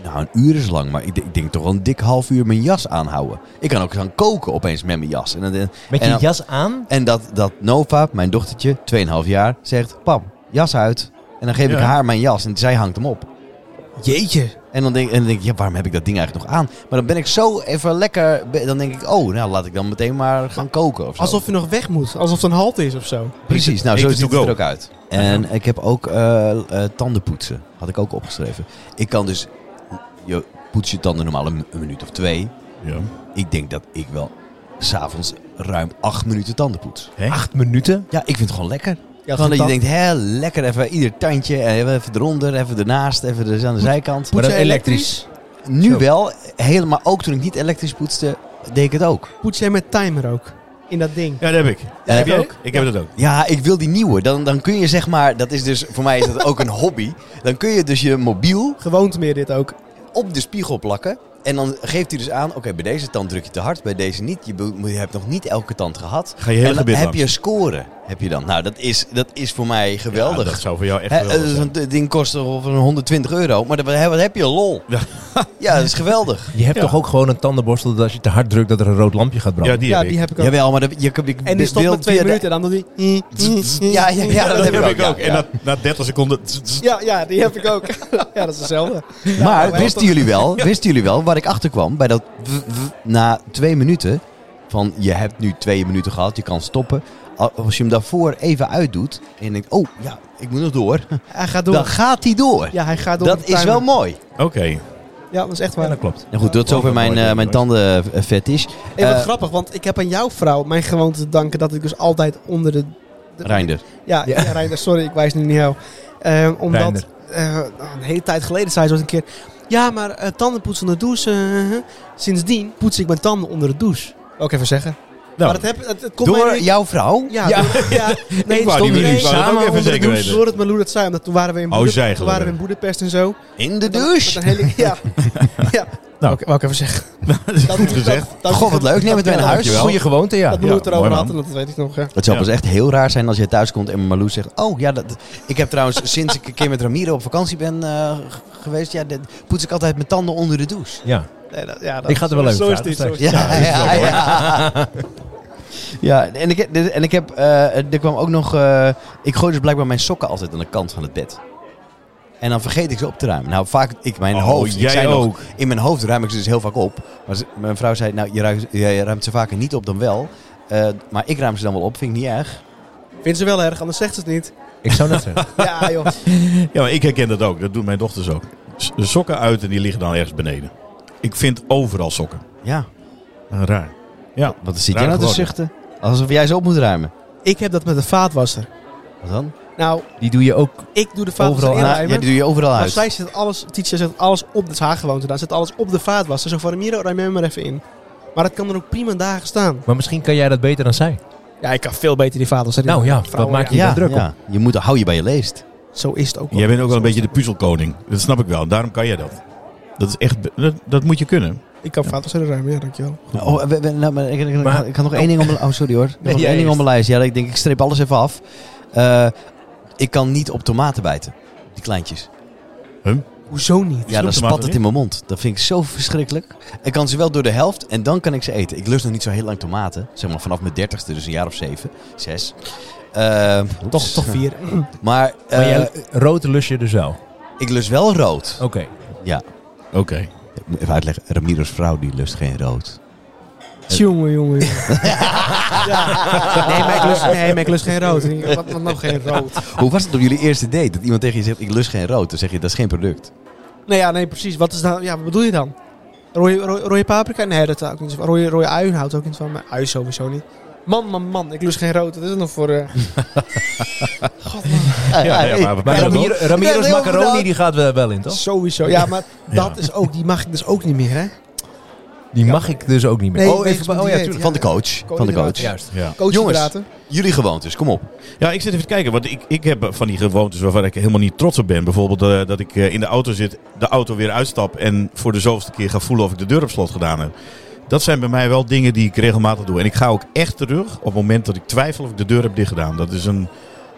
nou een uur is lang, maar ik, denk- ik denk toch wel een dik half uur mijn jas aanhouden. Ik kan ook gaan koken opeens met mijn jas. En, dan- en,
Met je
dan-
jas aan?
en dat, dat Nova, mijn dochtertje, 2,5 jaar, zegt, pap, jas uit. En dan geef ik
Ja.
haar mijn jas en zij hangt hem op.
jeetje.
En dan denk, en dan denk ik, ja, waarom heb ik dat ding eigenlijk nog aan? Maar dan ben ik zo even lekker, be- dan denk ik, oh, nou laat ik dan meteen maar gaan koken of zo.
Alsof je nog weg moet. Alsof het een halte is of zo.
Precies, nou
Eat
zo
it to
ziet het er
go.
ook uit. En ik heb ook eh eh, tanden poetsen, had ik ook opgeschreven. Ik kan dus, je poets je tanden normaal een, een minuut of twee.
Ja.
Ik denk dat ik wel s'avonds ruim acht minuten tanden poets.
Hè?
Acht minuten?
Ja, ik vind het gewoon lekker.
Ja,
gewoon dat je
dat-
denkt, hè, lekker even ieder tandje, eh, even eronder, even ernaast, even er aan de zijkant.
Maar dan
jij
elektrisch.
Nu
Zo.
wel, helemaal ook toen ik niet elektrisch poetste, deed ik het ook.
Poets jij met timer ook? In dat ding.
Ja, dat heb ik.
heb
heb
je
jij ook? Ik heb dat ook.
Ja, ik wil die nieuwe. Dan, dan kun je zeg maar, dat is dus, voor mij is dat ook een hobby. Dan kun je dus je mobiel
Gewoonte meer dit ook.
op de spiegel plakken. En dan geeft hij dus aan, oké, bij deze tand druk je te hard, bij deze niet. Je, be- je hebt nog niet elke tand gehad.
Ga je hele
en dan
gebit
heb
langs.
je scoren, heb je dan. Nou, dat is, dat is voor mij
Ja,
geweldig.
dat zou voor jou echt
Hè,
geweldig
eh,
zijn.
zo'n ding kost ongeveer 120 euro, maar dan- hè, wat heb je? Lol. Ja,
Ja.
dat is geweldig.
Je hebt
Ja.
toch ook gewoon een tandenborstel dat als je te hard drukt dat er een rood lampje gaat branden?
Ja, die
ja,
heb ik.
die heb ik ook.
Jawel, maar dat, je, je, je
en die stopt met
wilt
twee
via de-
minuten en dan doet hij...
Ja, ja, ja, dat, heb ik ook. ja.
En na, na 30 seconden... tss, tss,
Ja, ja, die heb ik ook. ja, dat is hetzelfde.
Maar
maar
wisten
dat-
jullie, wel, wisten jullie wel waar ik achter kwam? Bij dat w- w- na twee minuten. Van je hebt nu twee minuten gehad, je kan stoppen. Al- Als je hem daarvoor even uitdoet. En je denkt, oh ja, ik moet nog door.
Hij gaat door.
Dan gaat hij door.
Ja, hij gaat door.
dat
met de
is
timer.
wel mooi.
Oké.
Ja, dat is echt
Ja,
waar.
dat klopt.
Nou goed, tot zover
Mooi,
mijn,
mooi,
eh
mooi,
mijn
mooi.
tandenfetish.
Hey, wat
Eh,
grappig, want ik heb aan jouw vrouw mijn gewoonte te danken dat ik dus altijd onder de... de-
Reinder.
Ja,
Ja.
ja. Reinder, sorry, ik wijs nu niet jou. Ehm, omdat,
Reinder.
eh, nou, een hele tijd geleden zei ze ooit een keer... Ja, maar eh, tandenpoetsen onder de douche... eh, eh." sindsdien poets ik mijn tanden onder de douche. Ook even zeggen.
Nou,
maar dat, heb, dat, dat komt mij
Door
nu-
jouw vrouw?
Ja,
Ja.
door- ja. nee,
ik wou
stond
die
niet
ik wou dat
samen
ook even
onder de
zeker
Door
weten.
door het Malou dat zei, omdat toen waren we in,
Oh,
Boedap-
zij
toen
geloven.
waren we in Boedapest en zo.
In de
Dan-
douche?
Met een hele, ja. ja. Nou, wou ik even zeggen.
Dat is goed
Dat-
gezegd.
dat- dat-
Goh, wat leuk. Neem het mee naar huis.
Dankjewel.
Goede gewoonte, ja.
Dat Malou het
Ja,
erover
mooi
had, en
man.
dat weet ik nog. hè.
Het zou
Ja.
pas echt heel raar zijn als je thuis komt en Marloes zegt... Oh ja, dat, ik heb trouwens sinds ik een keer met Ramiro op vakantie ben eh, g- geweest... Ja, dit- poets ik altijd mijn tanden onder de douche.
Ja.
Nee, dat, ja, dat,
Ik ga het er wel
zo-
even
Zo is
vragen
dit. Zo is
straks.
dit.
Ja, ja, ja. Ja, en ik, heb- dus- en ik heb, eh, er kwam ook nog, eh, ik gooi dus blijkbaar mijn sokken altijd aan de kant van het bed. En dan vergeet ik ze op te ruimen. Nou, vaak, ik, mijn
Oh,
hoofd, ik
jij
zei nog,
ook.
in mijn hoofd ruim ik ze dus heel vaak op. Maar ze- mijn vrouw zei, nou, je ruimt, je ruimt ze vaker niet op dan wel. Eh, maar ik ruim ze dan wel op, vind ik niet erg.
Vindt ze wel erg, anders zegt ze het niet.
Ik zou net zeggen.
Ja, joh.
Ja, maar ik herken dat ook. Dat doen mijn dochters ook. S- De sokken uit en die liggen dan ergens beneden. Ik vind overal sokken.
Ja,
Raar. Ja.
wat zit jij
Raar
nou te
geworden.
zuchten? Alsof jij ze op moet ruimen.
Ik heb dat met een vaatwasser.
Wat dan?
Nou,
Die doe je ook.
ik doe de vaatwasser
Overal
Nou, ja,
inruimen.
die doe je overal
maar
uit.
zij zet alles, Titia zet alles op, dat is haar gewoonte daar, zet alles op de vaatwasser. Zo van, Ramiro, ruim jij maar even in. Maar dat kan er ook prima dagen staan.
Maar misschien kan jij dat beter dan zij.
Ja, ik kan veel beter die vaatwasser in.
Nou ja,
Vrouwen,
wat maak je-
ja,
bent druk
ja. je moet, hou je bij je leest.
Zo is het ook wel.
Jij bent ook wel een beetje de puzzelkoning. Dat snap ik wel. Daarom kan jij dat. Dat is echt... be- Dat, dat moet je kunnen.
Ik kan vaatwasser ruimen, ja, dankjewel.
Oh, we- we- nou, maar ik, ik, ik-
Maar-
ik had nog één ding op mijn... Oh, sorry hoor. Ik had nog
jij
één ding op
eerst.
mijn lijst. Ja, ik denk, ik streep alles even af. Eh, ik kan niet op tomaten bijten. Die kleintjes.
Hoezo niet?
Ja, dan
snoeptomaten
spat het
niet?
in mijn mond. Dat vind ik zo verschrikkelijk. Ik kan ze wel door de helft en dan kan ik ze eten. Ik lust nog niet zo heel lang tomaten. Zeg maar vanaf mijn dertigste, dus een jaar of zeven. Zes. Eh,
Toch, toch vier.
Maar, eh,
Maar jij, rood lus je dus wel. Oké.
ik lust wel rood. Ja.
Oké.
Ik moet even uitleggen. Ramiro's vrouw, die lust geen rood.
Jongen, jongen.
Ah.
Nee, maar ik lust, nee, maar ik lust geen rood. Wat, wat nou geen rood?
Hoe was het op jullie eerste date? Dat iemand tegen je zegt, ik lust geen rood. Dan zeg je, dat is geen product.
Nee, ja, nee, precies. Wat is nou, ja, wat bedoel je dan? Rooie, rooie, rooie paprika? Nee, dat hou ik niet. zo van. Rooie, rooie uien houdt ook niet van, maar ui sowieso niet. Man, man, man, ik lust geen rood. Dat is het nog voor. eh, God, man.
Ja,
ja, maar we-
Maar
Ja,
Ramiro- Ramiro's
Nee, nee,
macaroni
eh,
inderdaad.
die gaat wel wel in, toch?
Sowieso. Ja, maar
Ja.
dat is ook, die mag ik dus ook niet meer, hè?
Die mag ik dus ook niet meer.
Nee,
oh,
wegens
even,
mijn
oh ja,
dieet,
tuurlijk.
Van de coach. Van de coach.
Ja.
Juist.
Ja.
Coach
Jongens.
praten.
Jullie gewoontes, kom op.
ja, ik zit even te kijken. Want ik, ik heb van die gewoontes waarvan ik helemaal niet trots op ben. Bijvoorbeeld eh, dat ik eh, in de auto zit, de auto weer uitstap... en voor de zoveelste keer ga voelen of ik de deur op slot gedaan heb. Dat zijn bij mij wel dingen die ik regelmatig doe. En ik ga ook echt terug op het moment dat ik twijfel of ik de deur heb dichtgedaan. Dat is een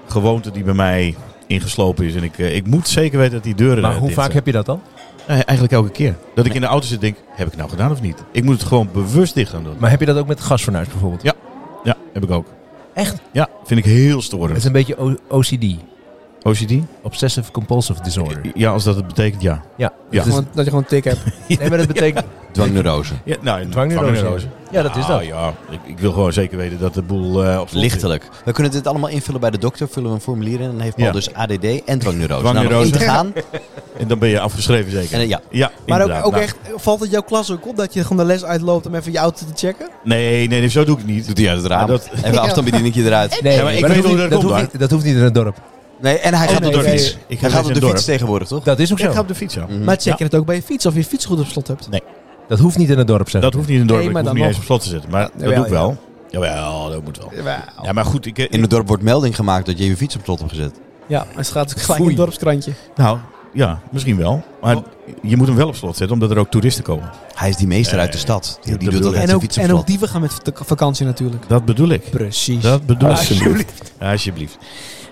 gewoonte die bij mij ingeslopen is. En ik, eh, ik moet zeker weten dat die deuren
Maar
eh,
hoe
dicht
vaak
zijn.
heb je dat dan?
Eh, Eigenlijk elke keer. Dat ik in de auto zit denk, heb ik het nou gedaan of niet? Ik moet het gewoon bewust dicht gaan doen.
Maar heb je dat ook met gasfornuis bijvoorbeeld?
Ja. Ja, heb ik ook.
Echt?
Ja, vind ik heel
Het is
storend.
een beetje O- OCD.
OCD?
Obsessive Compulsive Disorder.
Ja, als dat het betekent, ja.
Ja.
Ja.
Dus-
Gewoon dat je gewoon een tik hebt.
nee, maar dat betekent...
Dwangneurose.
ja nou, een
Dwangneurose. Ja, dat is dat.
Ah, ja, ik, ik wil gewoon zeker weten dat de boel eh op slot zit.
Lichtelijk. We kunnen dit allemaal invullen bij de dokter. Vullen we een formulier in. En dan heeft Paul
Ja.
dus ADD en dwangneurose.
Dwangneurose.
Nou, nog in te gaan.
En dan ben je afgeschreven zeker.
En, eh, ja.
ja,
Maar ook,
inderdaad.
ook
Nou,
echt, valt het jouw klas ook op dat je gewoon de les uitloopt om even je auto te checken?
Nee, nee, nee, zo doe ik het niet.
Doet hij uit het raam.
Maar dat-
Even afstandsbedieningje eruit.
Nee,
Ja, maar ik weet
dat,
hoe
hoeft
dat
niet,
komt,
hoeft
hoor.
niet, dat hoeft niet in het dorp.
Nee, en hij gaat
nee,
op de
nee,
fiets.
nee. Ik ga
Hij gaat
eens
op
in
de
het
fiets
dorp.
tegenwoordig, toch?
Dat is ook
Ik ga
zo.
op de fiets, ja.
Maar check je het ook bij je fiets of je fiets goed op slot hebt?
Dat hoeft niet in het dorp, zeg
Dat
ik.
hoeft niet in het dorp.
Nee,
ik
maar
hoef
dan
niet
nog.
eens op slot te zitten. Maar dat
jawel,
doe ik wel. Jawel, dat moet wel. Ja, maar goed. Ik, eh,
In het dorp wordt melding gemaakt dat je je fiets op slot hebt gezet.
Ja, maar het gaat gelijk
Foei.
een dorpskrantje.
Nou, ja, misschien wel. Maar je moet hem wel op slot zetten, omdat er ook toeristen komen.
Hij is die meester
Nee,
uit de stad. Die, die
dat
doet
bedoel
altijd
En
zijn
ook,
fiets op
en ook
slot.
die we gaan met vak- vakantie natuurlijk.
Dat bedoel ik.
Precies.
Dat bedoel ik.
Alsjeblieft.
Ja, alsjeblieft.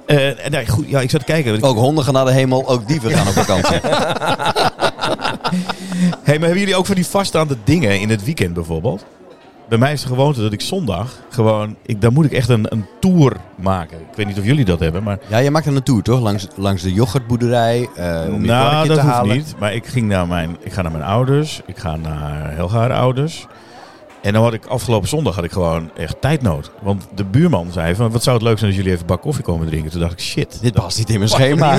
Eh, nee, goed, ja, ik zat te kijken.
Ook honden gaan naar de hemel. Ook dieven gaan op vakantie.
Hey, maar hebben jullie ook van die vaststaande dingen in het weekend bijvoorbeeld? Bij mij is de gewoonte dat ik zondag gewoon... Ik, dan moet ik echt een, een tour maken. Ik weet niet of jullie dat hebben, maar...
Ja, je maakt dan een tour, toch? Langs, langs de yoghurtboerderij. eh om je varkentje
nou, dat
te
hoeft
halen.
niet. Maar ik, ging naar mijn, ik ga naar mijn ouders. Ik ga naar Helga haar ouders. En dan had ik afgelopen zondag had ik gewoon echt tijdnood. Want de buurman zei van... Wat zou het leuk zijn als jullie even een bak koffie komen drinken? Toen dacht ik, shit. Nou
Dit past niet in mijn schema.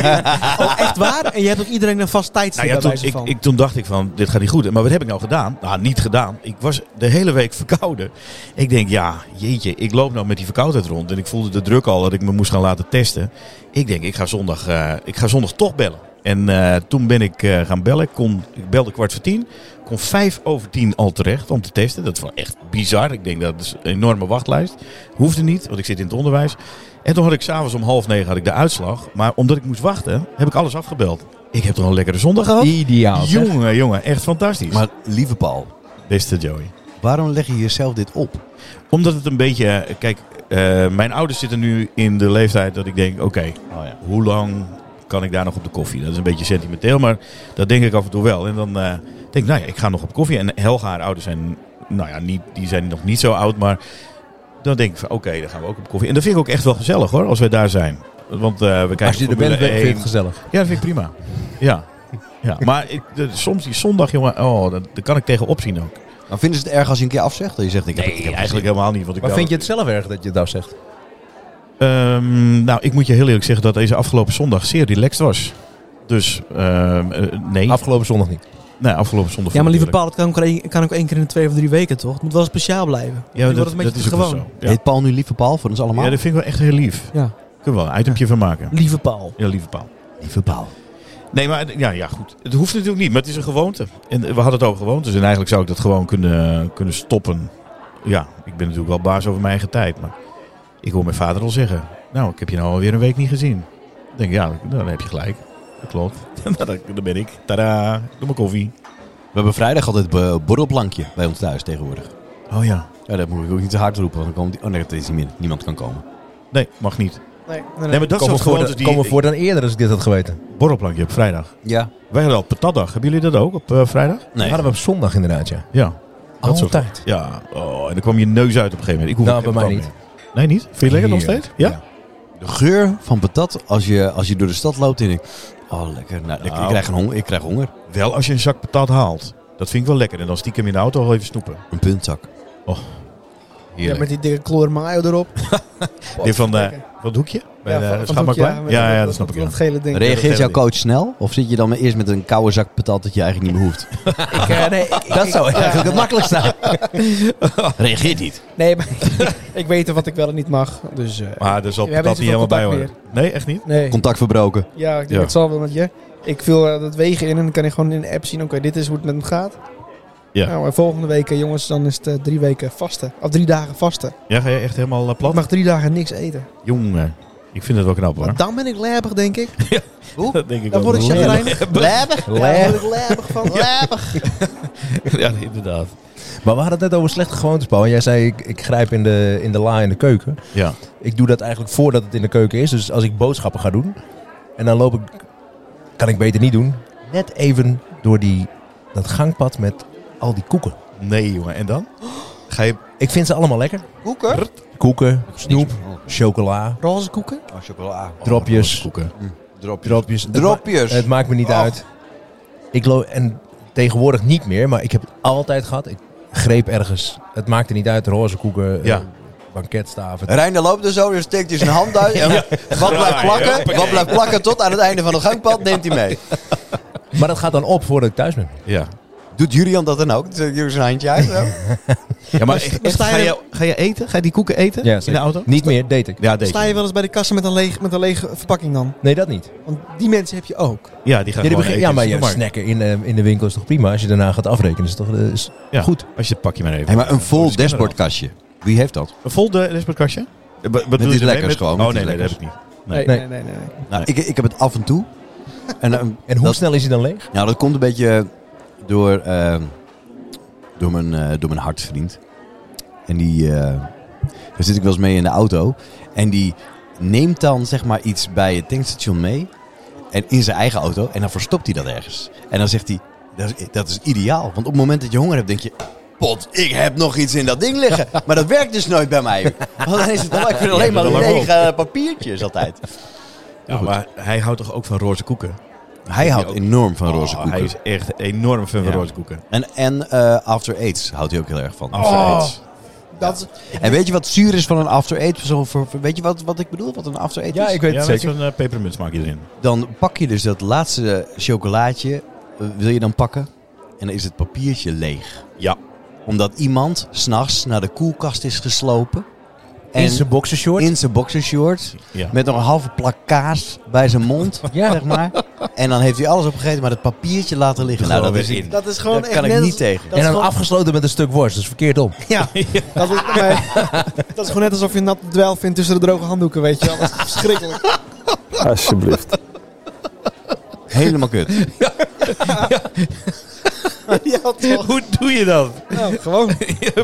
Oh, echt waar? En je hebt ook iedereen een vast tijdstip
Nou ja,
bij
toen,
wijze
ik,
van.
ik, toen dacht ik van, dit gaat niet goed. Maar wat heb ik nou gedaan? Nou, niet gedaan. Ik was de hele week verkouden. Ik denk, ja, jeetje, ik loop nou met die verkoudheid rond. En ik voelde de druk al dat ik me moest gaan laten testen. Ik denk, ik ga zondag, eh, ik ga zondag toch bellen. En eh, toen ben ik eh, gaan bellen. Ik, kon, ik belde kwart voor tien. Kon vijf over tien al terecht om te testen. Dat was echt bizar. Ik denk, dat is een enorme wachtlijst. Hoefde niet, want ik zit in het onderwijs. En toen had ik s'avonds om half negen had ik de uitslag. Maar omdat ik moest wachten, heb ik alles afgebeld. Ik heb toch een lekkere zondag gehad?
Ideaal. zeg.
Jongen, jongen, echt fantastisch.
maar lieve Paul,
beste Joey.
waarom leg je jezelf dit op?
Omdat het een beetje, eh, kijk, eh, mijn ouders zitten nu in de leeftijd dat ik denk, oké,
Oh,
hoe lang kan ik daar nog op de koffie? Dat is een beetje sentimenteel, maar dat denk ik af en toe wel. En dan eh, denk ik, nou ja, ik ga nog op koffie. En Helga, haar ouders zijn, nou ja, niet, die zijn nog niet zo oud, maar dan denk ik van, oké, dan gaan we ook op koffie. En dat vind ik ook echt wel gezellig hoor, als wij daar zijn. Want eh, we kijken
Als je er
Formule
bent, vind ik
1.
het gezellig.
Ja, dat vind ik prima. Ja. Ja, maar ik, de- soms die zondag, jongen, oh, daar daar kan ik tegenop zien ook.
Maar Nou, vinden ze het erg als je een keer afzegt? Dat je zegt, ik heb, ik
Nee,
heb
eigenlijk helemaal niet. Want ik
Maar
bel-
vind je het zelf erg dat je dat zegt?
Ehm, nou, ik moet je heel eerlijk zeggen dat deze afgelopen zondag zeer relaxed was. Dus, ehm, eh, nee.
Afgelopen zondag niet.
nee, afgelopen zondag.
ja, maar lieve
natuurlijk.
Paul, het kan ook, één- kan ook één keer in de twee of drie weken, toch? Het moet wel speciaal blijven.
Ja,
Nu
dat,
wordt het een
dat
beetje
is ook
gewoon.
wel zo. Ja.
Heet Paul nu lieve Paul voor ons allemaal?
Ja, dat vind ik wel echt heel lief.
Ja.
Kunnen we wel een itempje van maken.
Lieve Paul.
Ja, lieve paal.
Lieve Paul.
Nee, maar ja, ja, goed. Het hoeft natuurlijk niet, maar het is een gewoonte. En we hadden het over gewoontes. En eigenlijk zou ik dat gewoon kunnen, kunnen stoppen. Ja, ik ben natuurlijk wel baas over mijn eigen tijd. Maar ik hoor mijn vader al zeggen. Nou, ik heb je nou alweer een week niet gezien. Ik denk, ja, nou, dan heb je gelijk. Dat klopt. Nou, dan- dan ben ik. Tada, doe mijn koffie.
We hebben vrijdag altijd be- borrelplankje bij ons thuis tegenwoordig.
Oh ja.
Ja, dat moet ik ook niet te hard roepen, want dan komt die... Oh nee, dat is niet meer. Niemand kan komen.
Nee, mag niet.
Nee,
Nee, maar dat
Kom me
soort
voor,
gewoontes
dan,
die...
kom me voor dan eerder als ik dit had geweten.
Borrelplankje op vrijdag.
Ja.
Wij hadden al patatdag. Hebben jullie dat ook op eh, vrijdag?
We
Nee.
hadden we op zondag inderdaad, ja.
Ja. Dat soort-
Altijd.
Ja. Oh, en dan kwam je neus uit op een gegeven moment. Ik hoef
Nou,
het
bij mij
patat meer. Nee, niet? Vind je het lekker nog
Heerlijk.
steeds? Ja?
De geur van patat, als je, als je door de stad loopt en ik... Oh, lekker. Nou, ik, ik
Nou.
krijg een honger, ik krijg honger.
Wel als je een zak patat haalt. Dat vind ik wel lekker. En dan stiekem in de auto al even snoepen.
Een puntzak.
Ja,
Heerlijk.
met die dikke kloor mayo erop.
Die van, eh,
Lekker.
van het hoekje? Bij
Ja,
de
van- van
schaapmaak-
het hoekje,
Ja,
met
ja, dat snap ik.
Dat
Ja.
gele ding.
Reageert
heel
jouw
erg.
coach snel? Of zit je dan eerst met een koude zak patat dat je eigenlijk niet meer hoeft?
dat zou eigenlijk het makkelijkste zijn.
Reageert niet.
Nee, maar ik weet wat ik wel en niet mag. Dus, eh,
Maar daar zal
We hebben
patat
niet
niet helemaal
zoveel
bij horen.
contact
Nee, echt niet?
nee.
Contact verbroken.
Ja, ik
Ja.
het zal wel met je. Ik vul eh, dat wegen in en dan kan ik gewoon in de app zien, oké, dit is hoe het met hem gaat.
Ja.
Nou, en volgende week, eh, jongens, dan is het eh, drie weken vasten. Of drie dagen vasten.
Ja, ga je echt helemaal eh,
Ik
plat?
mag drie dagen niks eten.
Jongen, ik vind het wel knap hoor.
Maar dan ben ik lijbig, denk ik.
Dat denk ik
Dan
ook.
word ik chagrijnig.
Blijven?
Daar word ik lijbig van. Lijbig.
Ja, nee, inderdaad.
Maar we hadden het net over slechte gewoontes, Paul. En jij zei, ik, ik grijp in de, in de la in de keuken.
Ja.
Ik doe dat eigenlijk voordat het in de keuken is. Dus als ik boodschappen ga doen, en dan loop ik, kan ik beter niet doen, net even door die, dat gangpad met al die koeken.
Nee, jongen. En dan? Ga je...
Ik vind ze allemaal lekker.
Koeken.
Koeken, snoep,
Oh,
chocola,
Roze koeken.
chocola.
dropjes,
koeken. Oh,
Dropjes.
dropjes. Het ma-
Dropjes.
Het maakt me niet
Oh.
uit. Ik loop, en tegenwoordig niet meer, maar ik heb het altijd gehad. Ik greep ergens. Het maakte niet uit, roze koeken,
Ja.
eh, banketstaven.
Reiner loopt er zo, dus steekt hij zijn hand uit. En wat blijft plakken? Wat blijft plakken tot aan het einde van het gangpad neemt hij mee.
Maar dat gaat dan op voordat ik thuis ben.
Ja.
Doet Julian dat dan ook? Zet Julian zijn handje uit? zo?
Ja, maar
sta-
echt,
dan sta je
ga,
er-
je, ga je eten? Ga je die koeken eten
Ja,
in
zeker.
de auto?
Niet meer, deed ik.
Ja, deze.
Sta je wel eens bij de kassa met een, leeg, met een lege verpakking dan?
Nee, dat niet.
Want die mensen heb je ook.
Ja, die gaan
Ja, die
gewoon
begin-
eten.
ja maar
Doe
je snacken in, eh, in de winkel is toch prima? Als je daarna gaat afrekenen is toch eh, is
Ja.
goed.
Als je het pakje maar even...
Hey, maar een vol
Dus kennen we
dashboardkastje. Wie heeft dat?
dat. Een vol de- dashboardkastje? Eh, wat- Wat doe je
iets
ermee?
lekkers gewoon, met
Oh nee,
iets
nee, dat heb ik
lekkers.
niet.
Nee, nee,
Nee.
nee. nee, nee.
Nou, ik, ik heb het af en toe. En, ehm,
En hoe
dat,
snel is hij dan leeg?
nou, dat komt een beetje door, ehm, door, mijn, eh, door mijn hartvriend. En die... eh, daar zit ik wel eens mee in de auto. En die neemt dan zeg maar iets bij het tankstation mee. En in zijn eigen auto. En dan verstopt hij dat ergens. En dan zegt hij, dat is, dat is ideaal. Want op het moment dat je honger hebt, denk je... Pot, ik heb nog iets in dat ding liggen. Maar dat werkt dus nooit bij mij. Want dan is het dan, ik vind alleen maar
dat lang op.
lege eh, papiertjes altijd.
Ja, maar hij houdt toch ook van roze koeken?
Hij houdt
ook.
enorm van roze
Oh,
koeken.
Hij is echt enorm fan van
Ja.
roze koeken.
En, en eh, After Eights houdt hij ook heel erg van.
After
Oh, Dat is-
En weet je wat zuur is van een After Eight? Zo voor- voor- Weet je wat, wat ik bedoel? Wat een After Eight is?
Eight. Ja, met zo'n eh, pepermunt smaak je erin.
Dan pak je dus dat laatste chocolaatje. eh, Wil je dan pakken? En dan is het papiertje leeg.
Ja.
Omdat iemand s'nachts naar de koelkast is geslopen. En
In zijn boxershort?
in zijn boxershort.
ja.
Met nog een halve plak kaas bij zijn mond.
Ja.
zeg maar. En dan heeft hij alles opgegeten, maar het papiertje laten liggen. Nou, dat is
Dat is gewoon
Daar
echt
kan ik
net
niet
als-
tegen.
dat
en
is
dan
gewoon-
afgesloten met een stuk worst. Dat is verkeerd om.
Ja, Dat, is, maar- dat is gewoon net alsof je een natte dweil vindt tussen de droge handdoeken, weet je wel. Dat is verschrikkelijk.
Alsjeblieft.
Helemaal kut.
Ja, toch.
Hoe doe je dat?
Nou, gewoon.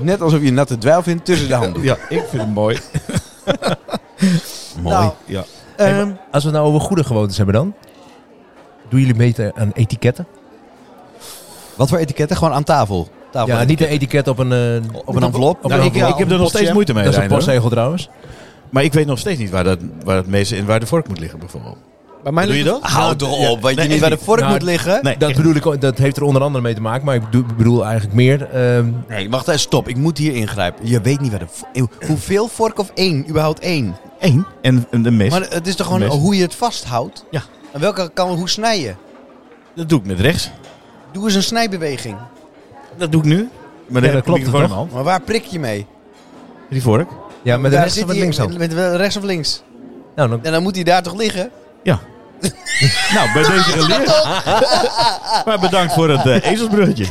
Net alsof je een natte dweil vindt tussen de handen.
Ja, ik vind het mooi.
Mooi.
Nou,
Ja.
Hey,
ehm,
Als we het nou over goede gewoontes hebben dan. Doen jullie mee aan etiketten?
Wat voor etiketten? Gewoon aan tafel. tafel
ja, niet
etiketten.
een etiket op een, eh,
op een envelop.
op
Nou,
een
ik,
envelop.
ik heb er nog steeds moeite mee,
Dat is een
Reiner.
postzegel trouwens.
Maar ik weet nog steeds niet waar, dat, waar het meeste en waar de vork moet liggen, bijvoorbeeld.
bij mij
Doe je
ligt
dat?
Houd toch op, weet
Nee,
je niet
echt
waar de
niet.
vork
Nou,
moet liggen?
Nee,
Dat,
echt
bedoel ik, dat heeft er onder andere mee te maken. Maar ik bedoel, bedoel eigenlijk meer... ehm,
Nee, wacht even, stop. Ik moet hier ingrijpen. Je weet niet waar de vork... Hoeveel vork of één? Überhaupt één?
één. En, en de mes,
Maar het is toch gewoon
Mes.
hoe je het vasthoudt?
Ja.
En welke kan hoe snijden?
dat doe ik met rechts.
Doe eens een snijbeweging.
Dat doe ik nu. Maar
dat
dat
klopt
klopt gewoon in
toch?
mijn hand.
Maar waar prik je mee?
Die vork.
ja, met de
Daar
rest
zit
van het
hij-
linkshand.
Met de rechts of links.
Nou, dan,
En dan moet hij daar toch liggen?
Ja. nou, bij deze geleerd. maar bedankt voor het eh ezelsbruggetje.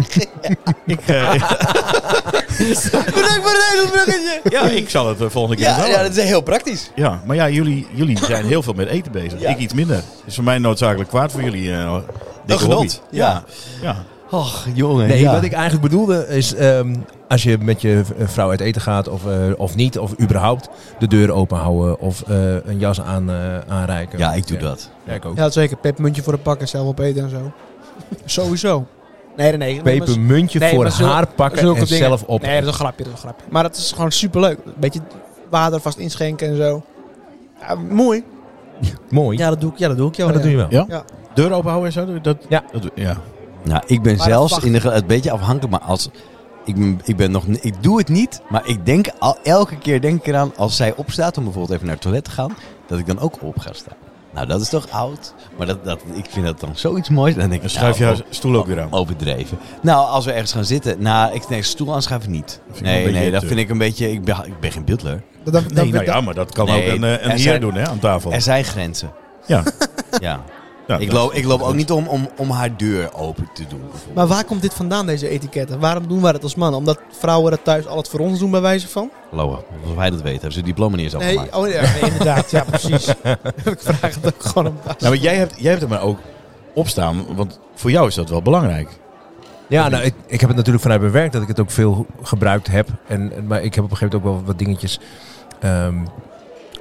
ik, eh,
Bedankt voor het hele bruggetje.
ja, ik zal het de volgende keer
Ja,
wel
ja, dat is heel praktisch.
Ja, maar ja, jullie, jullie zijn heel veel met eten bezig.
Ja.
Ik iets minder. Is voor mij noodzakelijk kwaad voor jullie. eh
Een
dikke hobby.
genot. Ja.
Ja.
Och, jongen.
Nee,
ja.
wat ik eigenlijk bedoelde is, ehm, als je met je v- eh, vrouw uit eten gaat of, eh, of niet, of überhaupt de deur open houden of eh, een jas aan, eh, aanreiken.
Ja, ik doe dat.
Ja, ik ook.
Ja, zeker. Pepermuntje voor de pakken, zelf op eten en zo. Sowieso. Nee, nee, nee.
Pepermuntje
Nee,
voor
maar zulke-
haar pakken
zulke
en
dingen.
zelf op.
Nee, dat is een grapje, dat is een grapje. Maar dat is gewoon superleuk. Beetje water vast inschenken en zo. Ja, mooi.
Mooi.
Ja, dat doe ik, ja, dat doe ik jou.
Maar dat doe je wel.
Ja?
Ja.
Deur openhouden en zo? doe je Dat,
Ja.
Dat, doe- ja.
Nou, ik ben
Maar
zelfs
wacht.
in de, ge- een beetje afhankelijk, maar als. Ik ben, ik ben nog. ni- Ik doe het niet, maar ik denk al, elke keer denk ik eraan als zij opstaat om bijvoorbeeld even naar het toilet te gaan, dat ik dan ook op ga staan. Nou, dat is toch oud? Maar dat, dat, ik vind dat dan zoiets moois. Dan denk ik,
Dan schuif je
nou,
haar stoel ook weer aan.
o- overdreven. Nou, als we ergens gaan zitten, nou, ik nee, stoel aanschuiven niet.
vind ik wel
Nee,
een
nee,
beetje
dat vind ik een beetje. Ik ben, ik ben geen butler.
Dat, dat,
Nee,
dat-
nou ja, maar dat kan
Nee,
ook een, eh,
er
een heer
zijn-
doen hè, aan tafel.
Er zijn grenzen.
Ja.
Ja.
Ja,
ik,
dat
loop,
is-
ik loop ook niet om, om, om haar deur open te doen.
Maar waar komt dit vandaan, deze etiketten? Waarom doen wij dat als mannen? Omdat vrouwen dat thuis al het voor ons doen, bij wijze van?
Hallo, als wij dat weten, hebben ze het diploma niet eens afgemaakt.
Nee, oh, ja, nee, inderdaad. ja, precies. ik vraag het ook gewoon om
Nou, maar jij hebt, jij hebt er maar ook opstaan, want voor jou is dat wel belangrijk.
Ja, nou, ik, ik heb het natuurlijk vanuit mijn werk dat ik het ook veel gebruikt heb. En, en- maar ik heb op een gegeven moment ook wel wat dingetjes ehm,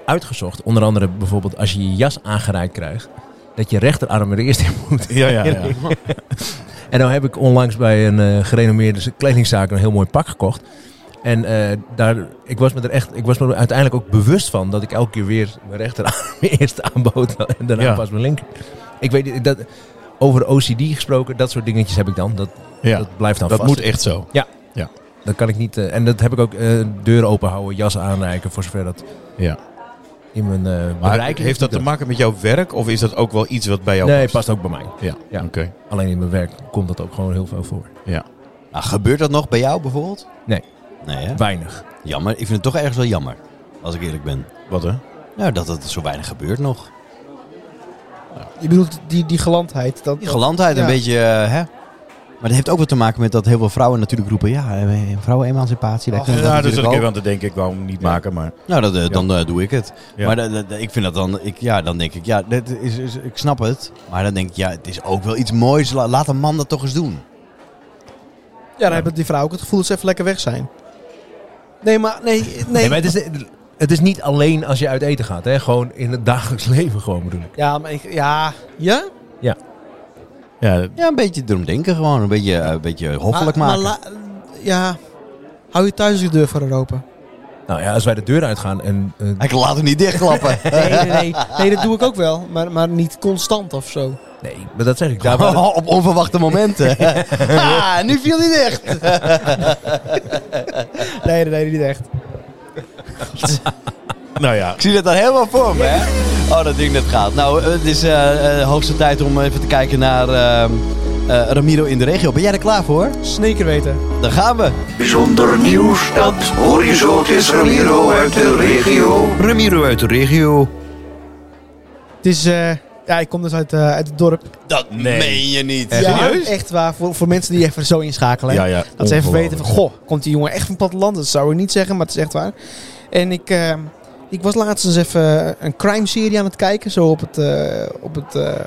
uitgezocht. Onder andere bijvoorbeeld als je je jas aangereikt krijgt, dat je rechterarm er eerst in moet.
Ja, ja, ja.
En nou heb ik onlangs bij een eh, gerenommeerde kledingzaak een heel mooi pak gekocht. En eh, daar, ik, was me er echt, ik was me er uiteindelijk ook bewust van dat ik elke keer weer mijn rechterarm eerst aanbood en daarna
Ja.
pas mijn linker. Ik weet niet, dat, over OCD gesproken, dat soort dingetjes heb ik dan. Dat,
Ja,
dat blijft dan
dat
vast.
moet echt zo.
Dat kan ik niet. eh, en dat heb ik ook eh, deuren open houden, jas aanreiken, voor zover dat
Ja.
in mijn eh
Maar
bereik is.
heeft dat te maken met jouw werk of is dat ook wel iets wat bij jou
Nee, past ook bij mij.
Ja,
Ja.
oké.
Alleen in mijn werk komt dat ook gewoon heel veel voor.
Nou, gebeurt dat nog bij jou bijvoorbeeld?
Nee.
Nee, hè?
Weinig.
Jammer. Ik vind het toch ergens wel jammer. Als ik eerlijk ben.
Wat hè?
Nou, dat het zo weinig gebeurt nog.
Je bedoelt die, die gelandheid. Dat,
Die gelandheid, een
Ja.
beetje, eh, hè? Maar dat heeft ook wat te maken met dat heel veel vrouwen natuurlijk roepen... Ja, eh, vrouwen-emancipatie, wij
Ach,
kunnen
ja,
dat
dus
natuurlijk
dat ik
ook.
even aan te denken, ik wou hem niet maken, maar...
Nou, dat, eh, dan eh, doe ik het.
Ja.
Maar dat- dat- dat- ik vind dat dan, ik, ja, dan denk ik, ja, dit is, is- ik snap het. Maar dan denk ik, ja, het is ook wel iets moois. La- laat een man dat toch eens doen.
Ja, dan hebben die vrouwen ook het gevoel dat ze even lekker weg zijn. Nee, maar nee, nee.
Nee, maar het is, het is niet alleen als je uit eten gaat. Hè? Gewoon in het dagelijks leven gewoon bedoel ik.
Ja, maar ik, ja. Ja?
Ja,
Ja, een beetje erom denken gewoon. Een beetje, eh, een beetje hoffelijk
Maar-
maken.
maar la- ja. Hou je thuis de deur voor Europa.
Nou ja, als wij de deur uitgaan en... eh,
Ik laat hem niet dichtklappen.
Nee, nee, nee. Nee, dat doe ik ook wel. Maar, maar niet constant of zo.
nee, maar dat zeg
Oh,
ik. Daar waar het-
op onverwachte momenten. ha, nu viel hij dicht.
Nee, nee, nee, niet echt.
nou ja.
Ik zie dat dan helemaal voor me, hè? Oh, dat ding dat gaat. Nou, eh, het is eh, eh, hoogste tijd om even te kijken naar ehm, eh, Ramiro in de regio. Ben jij er klaar voor?
Sneker weten.
Daar gaan we.
Bijzonder nieuws dat hoor je zo. Het is Ramiro uit de regio.
Ramiro uit de regio.
Het is... eh, ja, ik kom dus uit, eh, uit het dorp.
Dat meen je niet.
ja, Echt waar. Voor, voor mensen die even zo inschakelen. hè.
ja, ja
Dat ze even
ongelooflijk.
weten van, goh, komt die jongen echt van platteland? Dat zou ik niet zeggen, maar het is echt waar. En ik, eh, ik was laatst eens even eh, een crime serie aan het kijken. Zo op het, eh, op het eh, eh,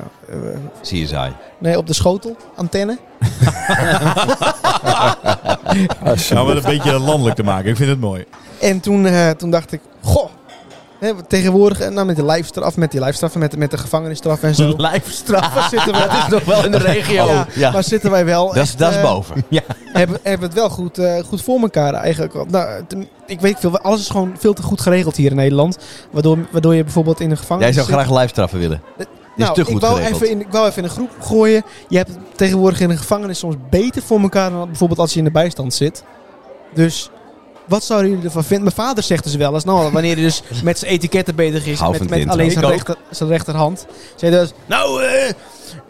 CSI.
nee, op de schotel, antenne.
Ja, om het Nou, een beetje landelijk te maken. Ik vind het mooi.
En toen, eh, toen dacht ik, goh. Hè, want tegenwoordig, eh, nou met die lijfstraf, met die lijfstraffen, met, met de gevangenisstraf en zo.
Lijfstraf.
Zitten wij,
Dat is nog wel in de regio.
ja,
ja.
Maar zitten wij wel.
Dat is,
echt,
dat is
eh,
boven.
hebben, hebben het wel goed, eh, goed voor elkaar eigenlijk. Nou, ten- ik weet veel, alles is gewoon veel te goed geregeld hier in Nederland. Waardoor, waardoor je bijvoorbeeld in een gevangenis
Jij zou
zit.
graag live straffen willen. Dit is te
Nou, ik
goed
wou,
geregeld.
even in, ik wou even in een groep gooien. Je hebt het tegenwoordig in een gevangenis soms beter voor elkaar dan bijvoorbeeld als je in de bijstand zit. Dus wat zouden jullie ervan vinden? Mijn vader zegt dus wel eens, nou, wanneer hij dus met zijn etiketten bezig is,
Gauw van
met,
het
met
intro.
alleen
Ik
zijn,
ook.
rechter, zijn rechterhand, zei hij dus, nou, eh,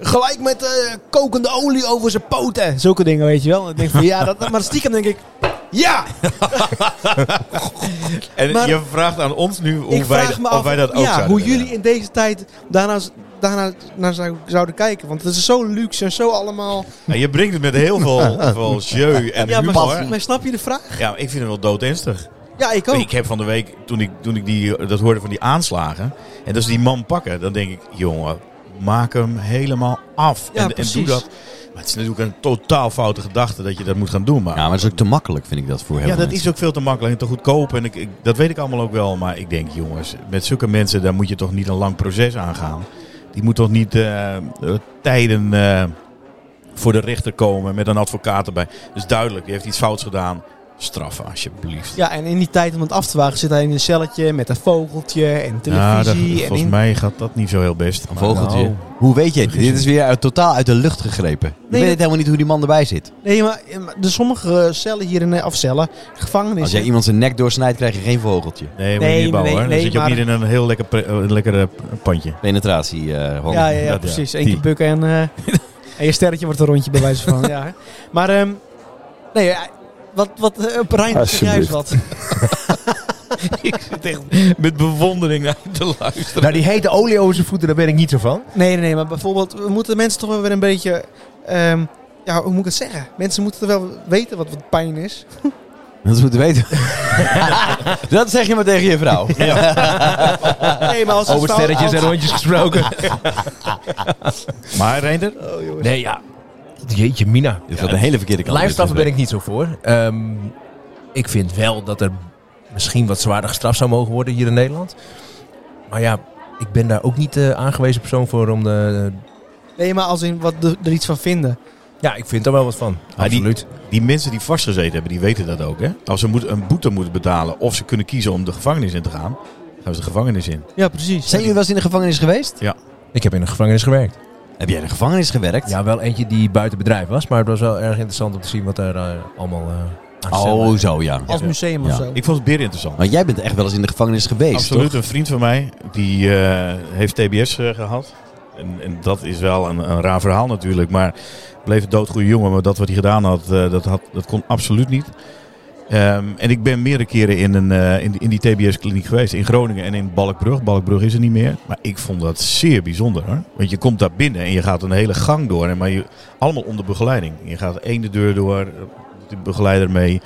gelijk met eh, kokende olie over zijn poten. Zulke dingen, weet je wel. En ik denk van, ja, dat, maar stiekem denk ik, ja!
En
Maar-
je vraagt aan ons nu hoe
ik
wij,
vraag
da-
me
of
af
wij dat ook
ja,
zouden
hoe
willen.
jullie in deze tijd daarna, daarna naar zou- zouden kijken. Want het is zo luxe en zo allemaal...
En je brengt het met heel veel, veel jeu en
Ja, maar,
humor.
maar snap je de vraag?
Ja, ik vind het wel doodenstig.
Ja, ik ook.
Ik heb van de week, toen ik, toen ik die, dat hoorde van die aanslagen. En dat ze die man pakken, dan denk ik, jongen, maak hem helemaal af.
Ja,
en, en doe
precies.
dat. Maar het is natuurlijk een totaal foute gedachte dat je dat moet gaan doen. Maar
Ja, maar dat is ook te makkelijk, vind ik dat voor heel
ja,
veel
dat is
mensen.
ook veel te makkelijk en te goedkoop. En ik, ik- dat weet ik allemaal ook wel. Maar ik denk, jongens, met zulke mensen, daar moet je toch niet een lang proces aangaan. Die moet toch niet eh, eh, tijden eh, voor de rechter komen met een advocaat erbij. Dus duidelijk, die heeft iets fouts gedaan. Straffen, alsjeblieft.
Ja, en in die tijd om het af te wagen zit hij in een celletje met een vogeltje en
Nou, dat-
televisie. en
volgens
in-
mij gaat dat niet zo heel best.
Een
Maar
vogeltje.
nou,
Hoe weet je? het? Dit is weer uit, totaal uit de lucht gegrepen. ik weet
dat-
het helemaal niet hoe die man erbij zit.
Nee, maar eh, maar de sommige cellen hier in eh, afcellen,
Als
gevangenis.
jij iemand zijn nek doorsnijdt, krijg je geen vogeltje.
nee,
Nee,
nee, niet
nee,
bouwen. hoor. Dan
nee,
zit je ook
maar-
niet in een heel lekker, pre- eh, lekker eh, pandje.
Penetratie, eh Holland.
ja, ja, ja,
dat, ja.
precies. Eén
Die.
keer bukken en, eh, en je sterretje wordt een rondje bij wijze van. ja, hè. Maar, ehm, nee, eh, wat, wat, eh, op Rijn, zeg jij eens wat.
ik zit echt met bewondering naar je te luisteren.
Nou, die hete olie over zijn voeten, daar ben ik niet zo van.
Nee, nee, nee, maar bijvoorbeeld, we moeten de mensen toch wel weer een beetje. ehm, ja, hoe moet ik het zeggen? Mensen moeten er wel weten wat, wat pijn is.
Dat moeten weten. dat zeg je maar tegen je vrouw.
Nee, maar als
Over sterretjes en rondjes gesproken.
Maar Reinder?
Nee, ja. Jeetje, Mina.
Dit gaat een hele verkeerde kant.
Lijfstraffen ben ik niet zo voor. Ehm, ik vind wel dat er misschien wat zwaarder gestraft zou mogen worden hier in Nederland. Maar ja, ik ben daar ook niet de aangewezen persoon voor om eh, de...
Nee, maar als in wat de- er iets van vinden.
Ja, ik vind daar wel wat van.
Ah, die-
Absoluut.
Die mensen die vastgezeten hebben, die weten dat ook. Hè? Als ze moet, een boete moeten betalen of ze kunnen kiezen om de gevangenis in te gaan, gaan ze de gevangenis in.
Ja, precies.
Zijn jullie wel eens in de gevangenis geweest?
Ik heb in een gevangenis gewerkt.
Heb jij in de gevangenis gewerkt?
Ja, wel eentje die buiten bedrijf was. Maar het was wel erg interessant om te zien wat daar eh, allemaal eh, aan te stellen
Oh, zo ja.
als museum of
Ja.
zo.
Ik vond het beer interessant.
Maar jij bent echt wel eens in de gevangenis geweest,
Absoluut,
toch?
een vriend van mij die eh, heeft TBS eh, gehad. En, en dat is wel een, een raar verhaal natuurlijk. Maar bleef een doodgoede jongen. Maar dat wat hij gedaan had, eh, dat, had dat kon absoluut niet. Ehm, en ik ben meerdere keren in, een, eh, in, die- in die TBS-kliniek geweest. In Groningen en in Balkbrug. Balkbrug is er niet meer. Maar ik vond dat zeer bijzonder. Hoor. Want je komt daar binnen en je gaat een hele gang door. En maar je, allemaal onder begeleiding. Je gaat de ene deur door, de begeleider mee.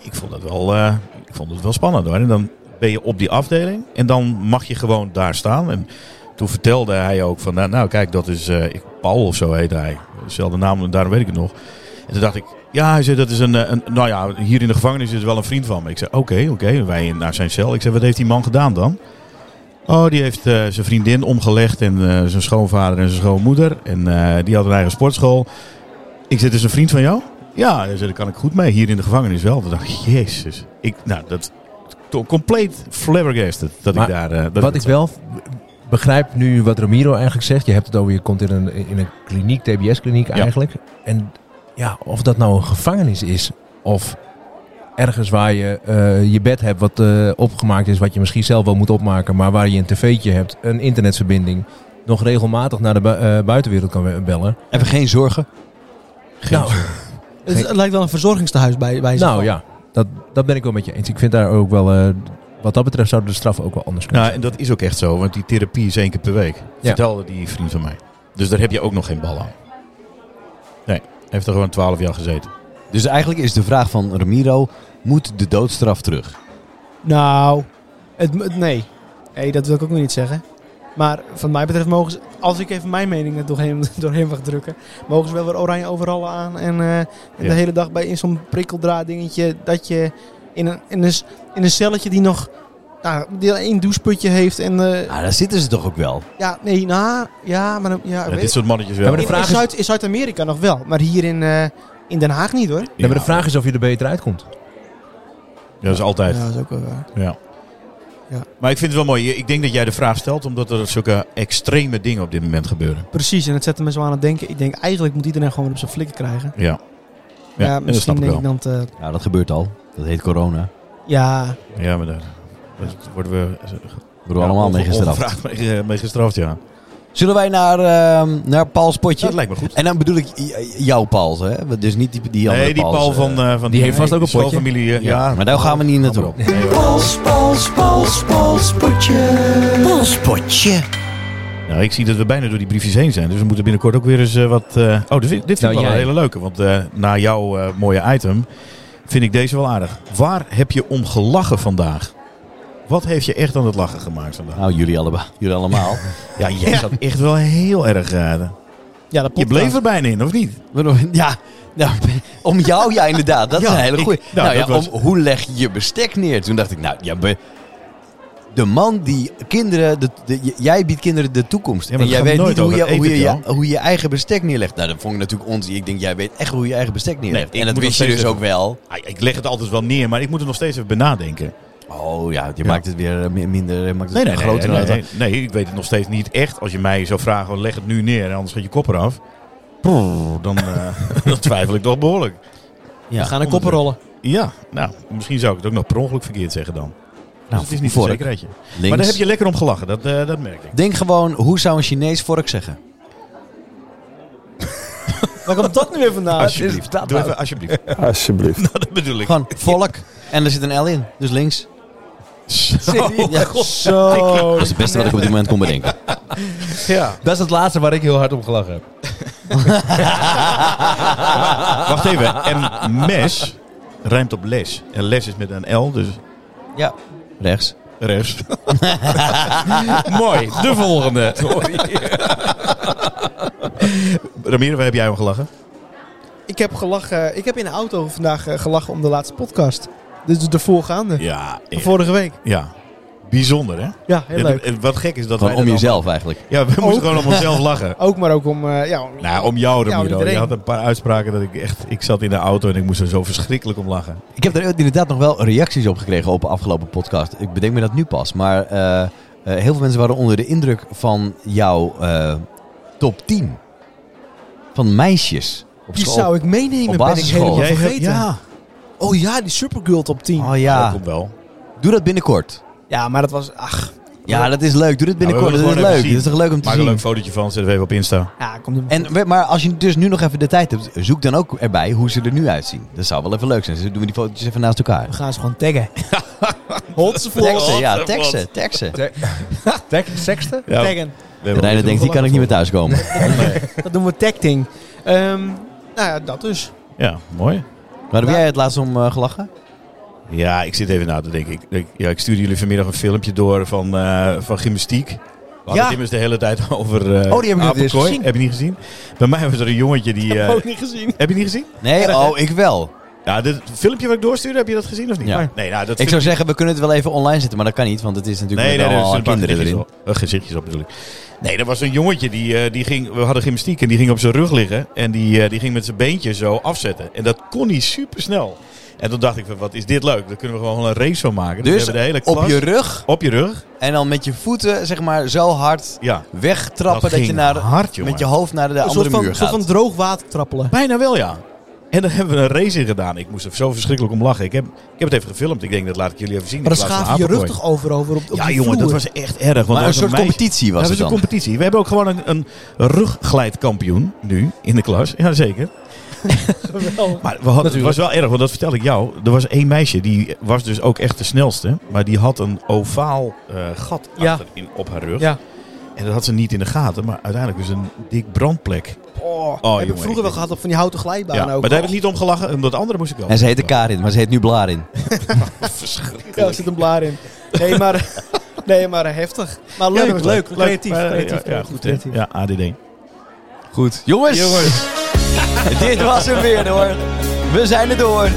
Ik vond dat wel, eh, ik vond het wel spannend hoor. En dan ben je op die afdeling en dan mag je gewoon daar staan. En toen vertelde hij ook van, nou, nou kijk, dat is eh, ik- Paul of zo heet hij. Dezelfde naam, daarom weet ik het nog. En toen dacht ik, ja, hij zei, dat is een, eh, een nou ja, hier in de gevangenis is wel een vriend van me. Ik zei, oké, oké, wij in- naar zijn cel. Ik zei, wat heeft die man gedaan dan? Oh, die heeft eh, zijn vriendin omgelegd en eh, zijn schoonvader en zijn schoonmoeder. En eh, die had een eigen sportschool. Ik zit dus een vriend van jou? Ja, hij zei, daar kan ik goed mee. Hier in de gevangenis wel. Toen dacht ik, jezus. Ik, nou, dat to- compleet flabbergasted dat
Maar
ik daar... eh, dat
Wat ik wel b- begrijp nu wat Ramiro eigenlijk zegt. Je hebt het over, je komt in een, in een kliniek, TBS-kliniek eigenlijk. En ja, of dat nou een gevangenis is of ergens waar je eh, je bed hebt wat eh, opgemaakt is, wat je misschien zelf wel moet opmaken, maar waar je een tv'tje hebt, een internetverbinding, nog regelmatig naar de bu- eh, buitenwereld kan we- bellen.
Even geen zorgen.
nou,
Het, het lijkt wel een verzorgingstehuis bij, bij ze.
nou ja, dat, dat ben ik wel met je eens. Ik vind daar ook wel, eh, wat dat betreft, zouden de straffen ook wel anders kunnen.
Nou, en dat is ook echt zo, want die therapie is één keer per week. Vertelde die vriend van mij. Dus daar heb je ook nog geen bal aan. Nee, hij heeft er gewoon 12 jaar gezeten.
Dus eigenlijk is de vraag van Ramiro, moet de doodstraf terug?
Nou, het, het- nee. Nee, dat wil ik ook nog niet zeggen. Maar van mij betreft mogen ze, als ik even mijn mening er doorheen, doorheen mag drukken, mogen ze wel weer oranje overallen aan en eh,
Ja.
de hele dag bij in zo'n prikkeldraad dingetje dat je in een, in een, s- in een celletje die nog nou, die al één doucheputje heeft en eh,
Ah, daar zitten ze toch ook wel?
ja, nee, nou, ja, maar dan- ja,
Ja,
weet
dit
ik.
soort mannetjes
Ja,
wel.
maar de
in, in
vraag is-
Zuid, in Zuid-Amerika nog wel, maar hier in, eh, in Den Haag niet hoor.
Ja, maar de vraag is of je er beter uitkomt.
Ja, dat is altijd.
dat is ook wel waar.
Ja.
Ja.
Maar ik vind het wel mooi. Je- Ik denk dat jij de vraag stelt omdat er zulke extreme dingen op dit moment gebeuren.
Precies, en het zet me zo aan het denken. Ik denk eigenlijk moet iedereen gewoon weer op zijn flikken krijgen.
Ja.
Ja,
en dat
misschien
snap ik
denk
wel.
ik dan te...
Nou, dat gebeurt al. Dat heet corona.
Ja,
Ja, maar daar daar worden we
We worden allemaal mee gestraft.
Ongevraagd mee, eh, mee gestraft, ja.
Zullen wij naar, ehm, naar Paul's potje?
Dat lijkt me goed.
En dan bedoel ik j- jou, Paul. Hè? Dus niet die, die andere
nee, die
Pauls,
Paul
eh.
van, eh, van...
die heeft vast ook een potje.
Familie, eh, ja.
ja, maar daar gaan we niet naartoe.
Nee, hoor.
Pols, pols, pols, pols,
Polspotje.
Nou, ik zie dat we bijna door die briefjes heen zijn. Dus we moeten binnenkort ook weer eens eh, wat... eh, Oh, dus dit dit vind
Nou,
ik wel
jij.
een hele leuke. Want eh, na jouw eh, mooie item vind ik deze wel aardig. Waar heb je om gelachen vandaag? Wat heeft je echt aan het lachen gemaakt vandaag?
Nou, jullie, allebei, jullie allemaal.
Ja, jij zat echt wel heel erg... eh,
ja dat
je bleef er bijna in, of niet?
Waarom- Ja, nou, om jou, ja, inderdaad. Dat is
Ja,
een hele
ik-
goeie.
nou,
nou, ja,
dat was-
om, hoe leg je je bestek neer? Toen dacht ik, nou, ja, be- de man die kinderen, de, de- j- jij biedt kinderen de toekomst.
Ja, maar
en
dat
jij
gaat
weet
nooit
niet hoe
over
je,
het
hoe, je,
eten,
je- hoe je eigen bestek neerlegt. Nou, dat vond ik natuurlijk onzin. Ik denk, jij weet echt hoe je eigen bestek neerlegt.
Nee, ik
en dat
moet
wist je
nog
dus
steeds
ook wel.
Ah, ik leg het altijd wel neer, maar ik moet er nog steeds even bij nadenken.
Oh ja, je maakt het weer eh, mi- minder, je maakt het
Nee, nee, nee,
groter.
nee,
dan
nee, nee, ik weet het nog steeds niet echt. Als je mij zou vragen, leg het nu neer, anders gaat je kop eraf. Prrr, Dan, eh, dan twijfel ik toch behoorlijk.
Ja.
We gaan een koppen rollen.
Ja, nou, misschien zou ik het ook nog per ongeluk verkeerd zeggen dan. Dus
Nou,
het is niet
vork,
een zekerheidje.
links.
Maar daar heb je lekker om gelachen, dat, eh, dat merk ik.
Denk gewoon, hoe zou een Chinees vork zeggen?
Waar komt dat nu weer vandaan?
Alsjeblieft, doe even alsjeblieft.
Alsjeblieft.
dat bedoel ik.
Gewoon volk. En er zit een L in, dus links. Ja,
Oh, Zo.
dat is het beste wat ik op dit moment kon bedenken.
Ja.
Dat is het laatste waar ik heel hard om gelachen heb.
Wacht even. En mes ruimt op les. En les is met een L, dus
Ja. Rechts.
rechts. Mooi. De volgende. Ramiro, waar heb jij om gelachen?
Ik heb gelachen. Ik heb in de auto vandaag eh, gelachen om de laatste podcast. Dit is de voorgaande.
Ja.
Van Vorige week.
Ja. Bijzonder, hè?
Ja, heel
Ja,
leuk.
en Wat gek is dat
Gewoon
wij
om
dat
jezelf eigenlijk.
allemaal- Ja, we moesten
Ook.
gewoon om onszelf lachen.
Ook maar ook om... eh, ja, om-
Nou, om jou,
Ja, om
Ramiro. je
iedereen.
had een paar uitspraken dat ik echt... Ik zat in de auto en ik moest er zo verschrikkelijk om lachen.
Ik heb er inderdaad nog wel reacties op gekregen op de afgelopen podcast. Ik bedenk me dat nu pas. Maar eh, eh, heel veel mensen waren onder de indruk van jouw eh, top 10. Van meisjes op
die
school.
zou ik meenemen,
Op
ben ik
basisschool.
helemaal
Jij
hebt-
vergeten.
ja.
Oh ja, die Supergirl top 10.
Oh
Dat
ja,
komt wel.
doe dat binnenkort.
Ja, maar dat was... Ach,
Ja, dat is leuk. Doe dit binnenkort.
Ja, we
dat
willen
is
gewoon
leuk.
even
Dat is toch leuk om te
Maak een
zien.
leuk fotootje van, zet het even op Insta.
ja, komt er
En, we- maar als je dus nu nog even de tijd hebt, zoek dan ook erbij hoe ze er nu uitzien. Dat zou wel even leuk zijn. Dus doen we die fotootjes even naast elkaar.
We gaan ze gewoon taggen. Hotse voor.
Teksten, ja,
wat.
teksten, teksten.
Sexte?
Ja,
Taggen.
Reiner denkt, die kan ik niet meer thuiskomen.
Dat doen we tagting. Ehm nou ja, dat dus.
Ja, mooi.
Waar
Nou-
heb jij het laatst om eh, gelachen?
Ja, ik zit even na te denken. Ik, ik, ja, ik stuurde jullie vanmiddag een filmpje door van, eh, van gymnastiek. We hadden
Ja.
het immers de hele tijd over eh,
Oh, die heb ik nog niet eens
apenkooi.
gezien. Oh,
Heb je niet gezien? Bij mij was er een jongetje die... eh,
Ook niet gezien.
heb je niet gezien?
Nee, oh, ik wel.
Ja, dit filmpje wat ik doorstuurde, heb je dat gezien of niet?
Ja.
Nee, nou, dat
Ik
vind
zou zeggen, we kunnen het wel even online zetten, maar dat kan niet, want het is natuurlijk
Nee, nee,
met
er
allemaal
zijn
kinderen erin.
Op, eh, gezichtjes op natuurlijk. Nee, er was een jongetje die, eh, die ging. We hadden gymnastiek en die ging op zijn rug liggen. En die, eh, die ging met zijn beentje zo afzetten. En dat kon hij super snel. En toen dacht ik, van, wat is dit leuk? Daar kunnen we gewoon een race van maken. we
Dus
hebben de hele
op
klas-
je rug
op je rug.
en dan met je voeten zeg maar zo hard
Ja.
wegtrappen dat,
ging
je naar,
hard, jongen.
met je hoofd naar de
Een
andere
soort van,
muur
een soort
gaat.
van droog water trappelen.
Bijna wel, ja. En daar hebben we een race in gedaan. Ik moest er zo verschrikkelijk om lachen. Ik heb, ik heb het even gefilmd. Ik denk, dat laat ik jullie even zien.
Maar
In
dan
plaats van
schaaf je je rug
apenkooi.
toch over over op, op
Ja,
die
jongen, dat
vloer.
was echt erg. Want er
maar een
was
soort
meisje-
competitie was
dat
het
is een
dan.
competitie. We hebben ook gewoon een, een rugglijdkampioen nu in de klas. Jazeker. maar we hadden, het was wel erg, want dat vertel ik jou. Er was één meisje, die was dus ook echt de snelste. Maar die had een ovaal eh, gat
Ja.
achterin op haar rug.
Ja.
En dat had ze niet in de gaten. Maar uiteindelijk dus een dik brandplek.
Oh, heb
jongen,
ik
ik
vroeger wel
denk-
gehad op van die houten glijbaan
Ja,
ook.
maar daar heb ik niet om gelachen. Omdat andere moest ik wel.
En ze heette Karin, maar ze heet nu Blarin.
Verschrikkelijk.
Ja, er zit een blaar in. Nee, maar, nee, maar eh, heftig. Maar
Ja,
leuk,
dat was
leuk, creatief.
Maar, eh,
creatief,
ja, ja,
creatief,
goed, hè.
creatief.
Ja, ADD.
Goed. Jongens, dit was hem weer hoor. We zijn er door.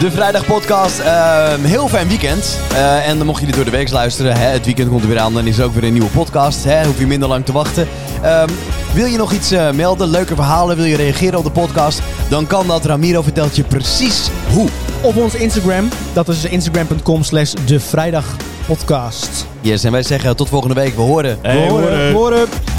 De vrijdagpodcast. ehm heel fijn weekend. Eh, en dan mocht je dit door de week luisteren. Hè, het weekend komt er weer aan. Dan is er ook weer een nieuwe podcast. Hè, hoef je minder lang te wachten. Ehm, wil je nog iets eh, melden? Leuke verhalen? Wil je reageren op de podcast? Dan kan dat. Ramiro vertelt je precies hoe.
Op ons Instagram, dat is instagram.com slash de vrijdagpodcast.
Yes, en wij zeggen tot volgende week. We horen.
Hey,
Horen,
horen.
horen.